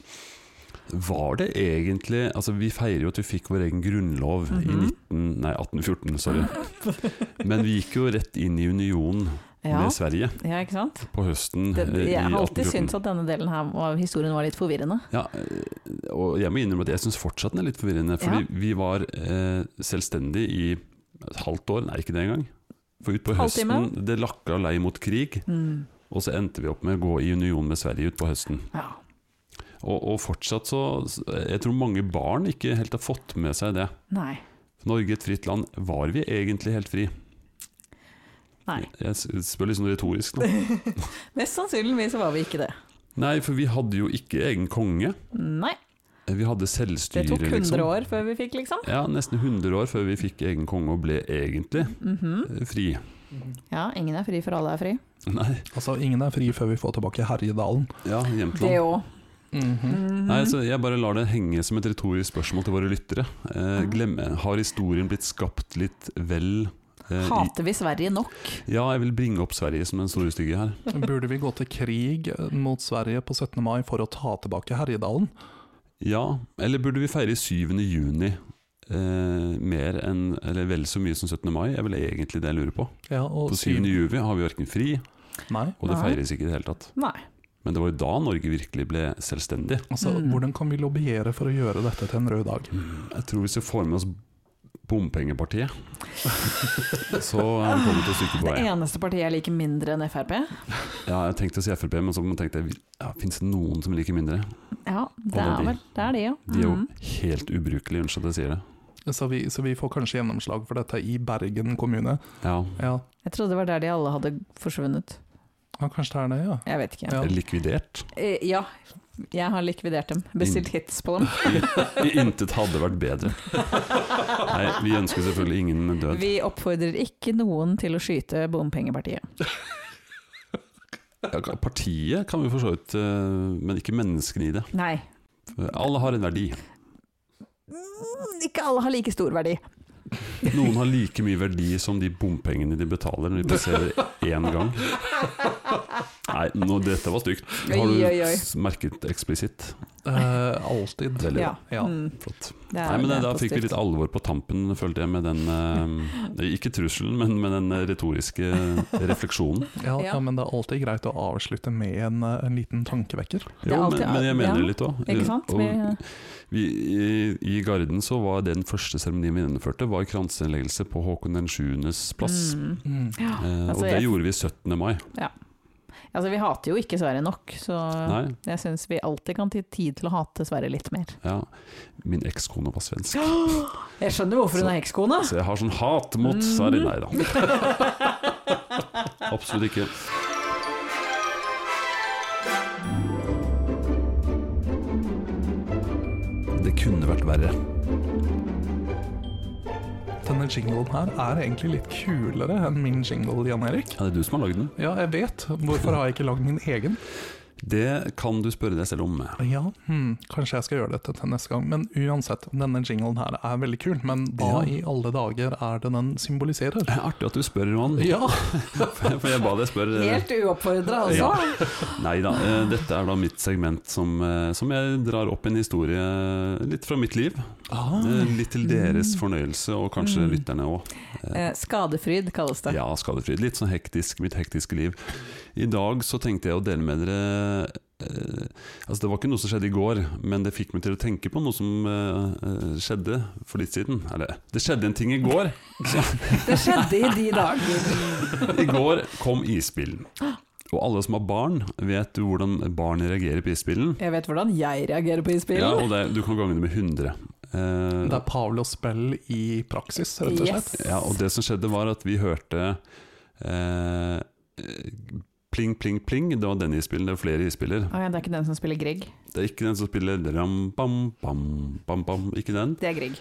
var det egentlig Altså, vi feirer jo at vi fikk vår egen grunnlov i Mhm. 19, nei, 1814, sorry. Men vi gikk jo rett inn i unionen Ja, med Sverige ja ikke sant? på høsten Det, eh, i jeg har alltid 1814. syntes at denne delen her av historien var litt forvirrende. Ja, eh, og jeg må innrømme at jeg syns fortsatt den er litt forvirrende. Fordi vi var eh, selvstendig i et halvt år, nei, ikke det engang. For utpå høsten, Halvtime? det lakka lei mot krig, Mm. og så endte vi opp med å gå i union med Sverige utpå høsten. Ja. Og, og fortsatt så Jeg tror mange barn ikke helt har fått med seg det. Nei. <laughs> Norge et fritt land, var vi egentlig helt fri? Nei. Jeg s- spør litt sånn retorisk nå. Mest sannsynligvis så var vi ikke det. Nei, for vi hadde jo ikke egen konge. Nei. Vi hadde Det selvstyre, tok 100 liksom. år før vi fikk, liksom. Ja, nesten 100 år før vi fikk egen konge og ble egentlig Mhm. eh, fri. Ja, ingen er fri for alle er fri. Nei, Altså, ingen er fri før vi får tilbake Herjedalen. ja, Det Mm. Jämtland. òg. Sånn. Mhm. Nei, altså, jeg bare lar det henge som et retorisk spørsmål til våre lyttere. Eh, glem, har historien blitt skapt litt vel eh, i, Hater vi Sverige nok? Ja, jeg vil bringe opp Sverige som den store stygge her. Burde vi gå til krig eh, mot Sverige på 17. mai for å ta tilbake Herjedalen? Ja, eller burde vi feire 7. juni eh, mer enn Eller vel så mye som 17. mai? Er vel egentlig det jeg lurer på. Ja, og På 7. juni har vi verken fri, Nei. og det Nei. feires ikke i det hele tatt. Nei. Men det var jo da Norge virkelig ble selvstendig. Altså, Mm. Hvordan kan vi lobbyere for å gjøre dette til en rød dag? Jeg tror hvis vi får med oss bompengepartiet, <laughs> så eh, kommer vi til å stykke på Det vei. eneste partiet jeg liker mindre enn Frp. Ja, jeg tenkte å si Frp, men så tenkte jeg ja, fins det noen som liker mindre? Ja, det Og det er er de. vel det er de, ja. De er jo Mhm. helt ubrukelige, unnskyld at jeg sier det. Så vi, så vi får kanskje gjennomslag for dette i Bergen kommune. Ja, Ja, Jeg trodde det var der de alle hadde forsvunnet. ja kanskje det er det, ja. Jeg vet ikke. Ja. likvidert. Eh, Ja, jeg har likvidert dem. Bestilt hits på dem. I- Intet hadde vært bedre. Nei, vi ønsker selvfølgelig ingen død. Vi oppfordrer ikke noen til å skyte bompengepartiet. Ja, ka- Partiet kan vi for så vidt, eh, men ikke menneskene i det. Nei. Alle har en verdi. Mm, Ikke alle har like stor verdi. Noen har like mye verdi som de bompengene de betaler når de passerer én gang. Nei, nå, dette var stygt. Har Oi, du oi, oi. s- merket eksplisitt? Eh, alltid. Veldig Ja. bra. Ja. Mm, Flott. det er- Nei, men det da, er da fikk vi positivt. litt alvor på tampen, følte jeg, med den eh, <laughs> Ikke trusselen, men med den eh, retoriske refleksjonen. Ja, Ja. ja, men det er alltid greit å avslutte med en, eh, en liten tankevekker. <laughs> Det er Jo, men, alltid- men jeg mener ja, det litt òg. Ikke sant? Vi, Vi, i, I Garden så var den første seremonien vi gjennomførte, var kransinnleggelse på Håkon den 7.s plass. mm. Mm. Eh, altså, og det jeg- gjorde vi 17. mai. Altså, vi hater jo ikke Sverige nok, så Nei, jeg syns vi alltid kan ta tid til å hate Sverige litt mer. ja. Min ekskone var svensk, <gasps> Jeg skjønner hvorfor hun er ekskone. så jeg har sånn hat mot Sverige. Nei <laughs> da. Absolutt ikke. Det kunne vært verre. denne jinglen her er egentlig litt kulere enn min jingle, Jan Erik. Ja, det er du som har lagd den. Ja, jeg vet. Hvorfor har jeg ikke lagd min egen? Det kan du spørre deg selv om. Ja, hmm, Kanskje jeg skal gjøre dette til neste gang. Men uansett, denne jinglen her er veldig kul. Men hva Ja. i alle dager er det den symboliserer? Det er artig at du spør, Roan. Ja, <laughs> For jeg ba deg spørre. Helt uoppfordra, Ja. altså. Nei da, eh, dette er da mitt segment som, eh, som jeg drar opp en historie eh, litt fra mitt liv. ah, Eh, Litt til deres fornøyelse, og kanskje Mm. lytterne òg. Eh, Skadefryd kalles det. Ja, skadefryd. Litt sånn hektisk, mitt hektiske liv. I dag så tenkte jeg å dele med dere eh, Altså Det var ikke noe som skjedde i går, men det fikk meg til å tenke på noe som eh, eh, skjedde for litt siden. Eller, det skjedde en ting i går. Det skjedde i de dager. I går kom isbilen. Og alle som har barn, vet jo hvordan barn reagerer på isbilen. Jeg vet hvordan jeg reagerer på Ja, innspillen. og det, du kan gange det med 100. Eh, Det er Pavlos spill i praksis, rett og slett. Yes. ja, og det som skjedde, var at vi hørte eh, Pling, pling, pling. Det var den isbilen. Det var flere isbiler. Å ja, det er ikke den som spiller Grieg. Det er ikke den som spiller ram, bam, bam, bam, bam. Ikke den, Det er Grieg.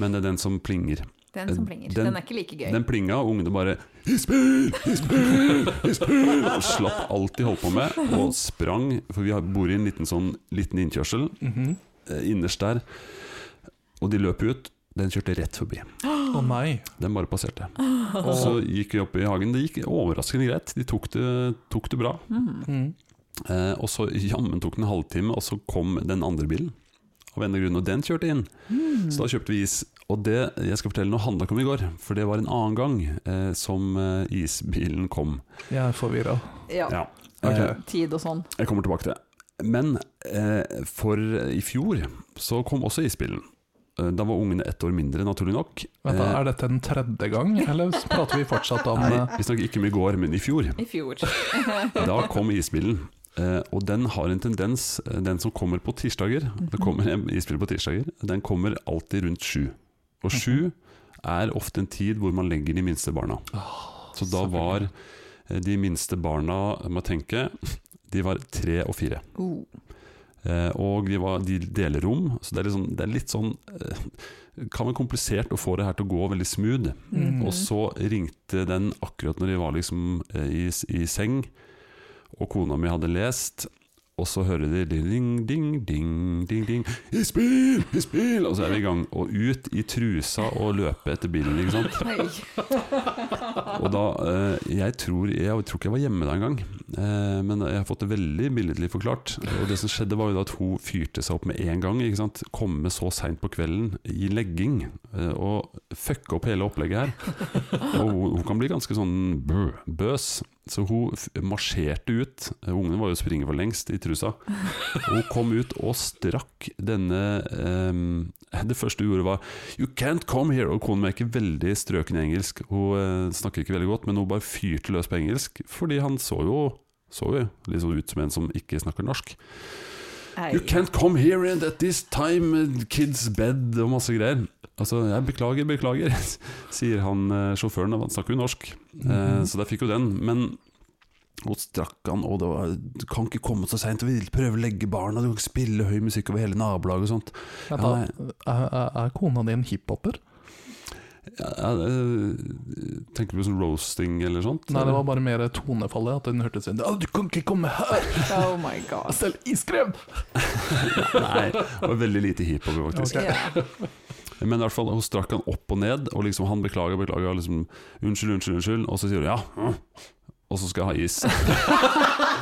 men det er den som plinger. Den som plinger. Den- Den, er ikke like gøy. Den plinga, og ungene bare Isbil! Isbil! Isbil! Og slapp alt de holdt på med, og sprang. For vi har- bor i en liten, sånn, liten innkjørsel Mhm. eh, innerst der. Og de løp ut. Den kjørte rett forbi. Å nei. Den bare passerte. Og så Og, gikk vi opp i hagen. Det gikk overraskende greit. De tok det, tok det bra. Mhm. mm, Eh, og så jammen tok det en halvtime, og så kom den andre bilen. Av en eller annen grunn, og den kjørte inn. Hmm. Så da kjøpte vi is. Og det jeg skal fortelle noe handla ikke om i går, for det var en annen gang eh, som eh, isbilen kom. jeg er forvirra. Ja. Ja. Ok. Eh, Tid og sånn. jeg kommer tilbake til det. Men eh, for i fjor så kom også isbilen. Eh, da var ungene ett år mindre, naturlig nok. Vent da, Eh, Er dette en tredje gang, eller så prater vi fortsatt om Nei, eh, vi snakker ikke om i går, men i fjor. I <laughs> fjor. Da kom isbilen. eh, Og den har en tendens, eh, den som kommer på tirsdager Det kommer en isbil på tirsdager, den kommer alltid rundt sju. Og sju er ofte en tid hvor man legger de minste barna. Så da var eh, de minste barna, jeg må tenke, de var tre og fire. Oh. Eh, Og de, var, de deler rom, så det er, litt sånn- det er litt sånn eh, Kan være komplisert å få det her til å gå veldig smooth. Mhm. Mm. Mm. Og så ringte den akkurat når jeg var liksom eh, i, i seng, og kona mi hadde lest. Og så hører de ding, ding, ding, ding, ding Isbil! Isbil! Og så er vi i gang. Og ut i trusa og løpe etter bilen, ikke sant. Hei. Og da, eh, jeg, tror, jeg tror ikke jeg var hjemme da engang, eh, men jeg har fått det veldig billedlig forklart. Og det som skjedde var jo da at hun fyrte seg opp med en gang. Ikke sant? Komme så seint på kvelden i legging eh, og fucke opp hele opplegget her. Og hun, hun kan bli ganske sånn bø, bøs. Så hun f marsjerte ut, ungene var jo springe for lengst i trusa. Og hun kom ut og strakk denne eh, Det første hun gjorde var You can't come here! Og kona mi er ikke veldig strøken i engelsk. Hun eh, snakker ikke veldig godt, men hun bare fyrte løs på engelsk. Fordi han så jo, så jo litt sånn ut som en som ikke snakker norsk. Hei. You can't come here and at this time, eh, kids bed og masse greier. Altså, jeg beklager, beklager, <laughs> sier han eh, sjåføren. og Han snakker jo norsk, eh, så der fikk jo den. Men hun strakk han, og det var Du kan ikke komme så seint, og vi prøver å legge barna, du kan ikke spille høy musikk over hele nabolaget og sånt. vent da, er, er- er kona di en hiphoper? Ja, ja, det- tenker du på sånn roasting eller sånt? Nei, det var bare mer tonefallet. At hun hørtes inn «Å, Du kan ikke komme her! Oh my god. Selv iskrem! <laughs> Nei, det var veldig lite hiphop faktisk. Ja. Men i hvert fall, hun strakk han opp og ned, og liksom han beklager, beklager, og liksom unnskyld, unnskyld, unnskyld, og så sier hun ja, mm, og så skal jeg ha is.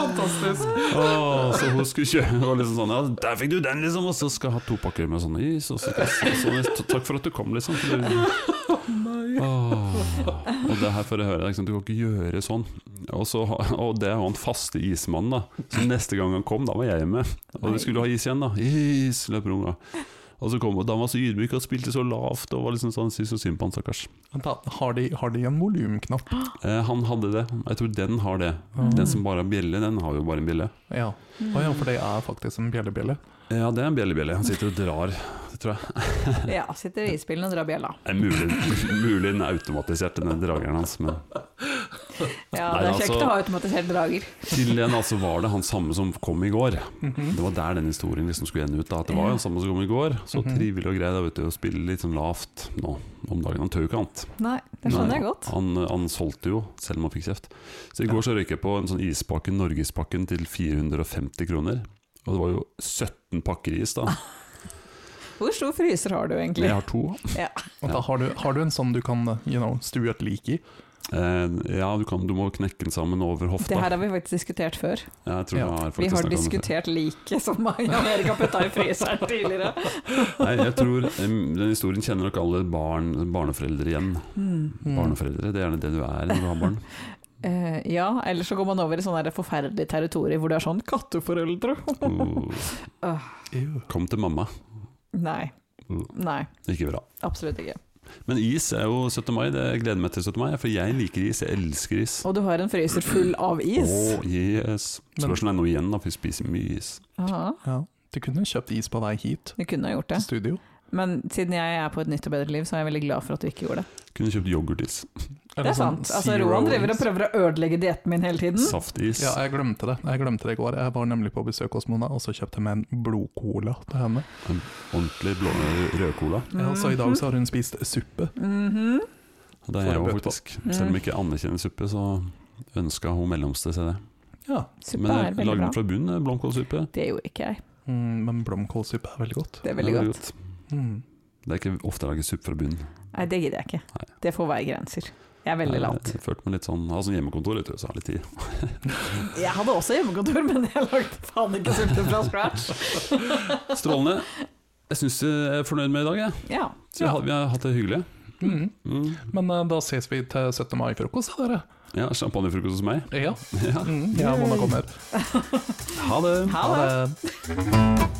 Fantastisk! Åh, så hun skulle kjøre, og liksom sånn, ja, der fikk du den liksom, og så skal jeg ha to pakker med sånn is, og så skal jeg si sånn, «T- takk for at du kom liksom. for det- Åh, og det her får jeg høre, liksom, du kan ikke gjøre sånn. Og, så, ha- og det er jo han faste ismannen da, så neste gang han kom, da var jeg hjemme, og vi skulle ha is igjen da, is, løper unga. Og så kom, og da var han så ydmyk og spilte så lavt, og var liksom sånn, synes så synd på han, stakkars. Vent da, har de, har de en volumknapp? Eh, han hadde det, jeg tror den har det. Mm. Den som bare har bjelle, den har jo bare en bjelle. Ja. Å ja, for det er faktisk en bjellebjelle. Ja, det er en bjellebjelle. Han sitter og drar, det tror jeg. ja, sitter i isbilen og drar bjella. Det er mulig, mulig den er automatisert, denne drageren hans, men Ja, Nei, det er kjekt altså- å ha automatisert drager. Til en altså var det han samme som kom i går. Mhm. Det var der den historien liksom skulle ende ut. da At det var jo han samme som kom i går. Så Mhm. trivelig og grei da vet du å spille litt sånn lavt nå om dagen. Han tør jo ikke annet. Nei, det skjønner jeg godt. Han, han solgte jo, selv om han fikk kjeft. Så i går så røyk jeg på en sånn ispakke, Norgespakken, til 450 kroner. Og det var jo 17 pakker is, da. Ah, Hvor stor fryser har du Men egentlig? jeg har to. Og da har du, har du en sånn du kan you know, stue et lik i? Eh, ja, du, kan, du må knekke den sammen over hofta. Det her har vi faktisk diskutert før. Jeg tror jeg Ja. har faktisk Vi har snakket om det før. diskutert liket som <laughs> Jan-Erik har putta i fryseren tidligere. Nei, jeg tror em, Den historien kjenner nok alle barn, barneforeldre igjen. Hmm. Mm. Barneforeldre, det er gjerne det du er når du har barn. Eh, ja, eller så går man over i sånn der forferdelig territorium hvor det er sånn katteforeldre. <laughs> Oh. Kom til mamma. Nei. Nei, Ikke bra. absolutt ikke. Men is er jo 17. mai. Det jeg gleder meg til 17. mai, for jeg liker is. Jeg elsker is. Og du har en fryser full av is. Åh, yes. Men- Spørsmålet er nå igjen, da, for vi spiser mye is. Aha, Ja. Du kunne kjøpt is på vei hit du kunne ha gjort det. til studio. Men siden jeg er på et nytt og bedre liv, så er jeg veldig glad for at du ikke gjorde det. Kunne kjøpt yoghurtis. Det er sant. sånn Altså, Roan driver og prøver å ødelegge dietten min hele tiden. Sånn. Saftis. Ja, jeg glemte det Jeg glemte det i går. Jeg var nemlig på besøk hos Mona, og så kjøpte jeg meg en blodcola til henne. Ordentlig blå rødcola. Ja, så i dag så har hun spist suppe. Mhm. Det er jeg også Får jeg bøtt på. faktisk. Selv om Mm. jeg ikke anerkjenner suppe, så ønska hun mellomste seg det. Ja, Suppe Men er jeg veldig lagde bra. den fra bunnen, eh, blomkålsuppe. Det gjorde ikke jeg. mm, men blomkålsuppe er veldig godt. Det er Det veldig er godt. Mm. Det er ikke ofte jeg lager suppe fra bunnen. Nei, det gidder jeg ikke. Nei. Det får være grenser. Jeg er veldig lat. Jeg følte meg litt sånn, altså hjemmekontor, vet du, så har jeg litt tid. Jeg hadde også hjemmekontor, <laughs> men jeg lagde faen ikke suppe fra scratch. Strålende. Jeg syns jeg er fornøyd med i dag, jeg. Ja. Så jeg har- vi har hatt det hyggelig. Mm. Mm. Men eh, da ses vi til 17. mai-frokost, da, dere. Ja, champagnefrokost hos meg. <laughs> Ja. Ja. Mm, ja, Mona kommer. Ha det! Ha det. det.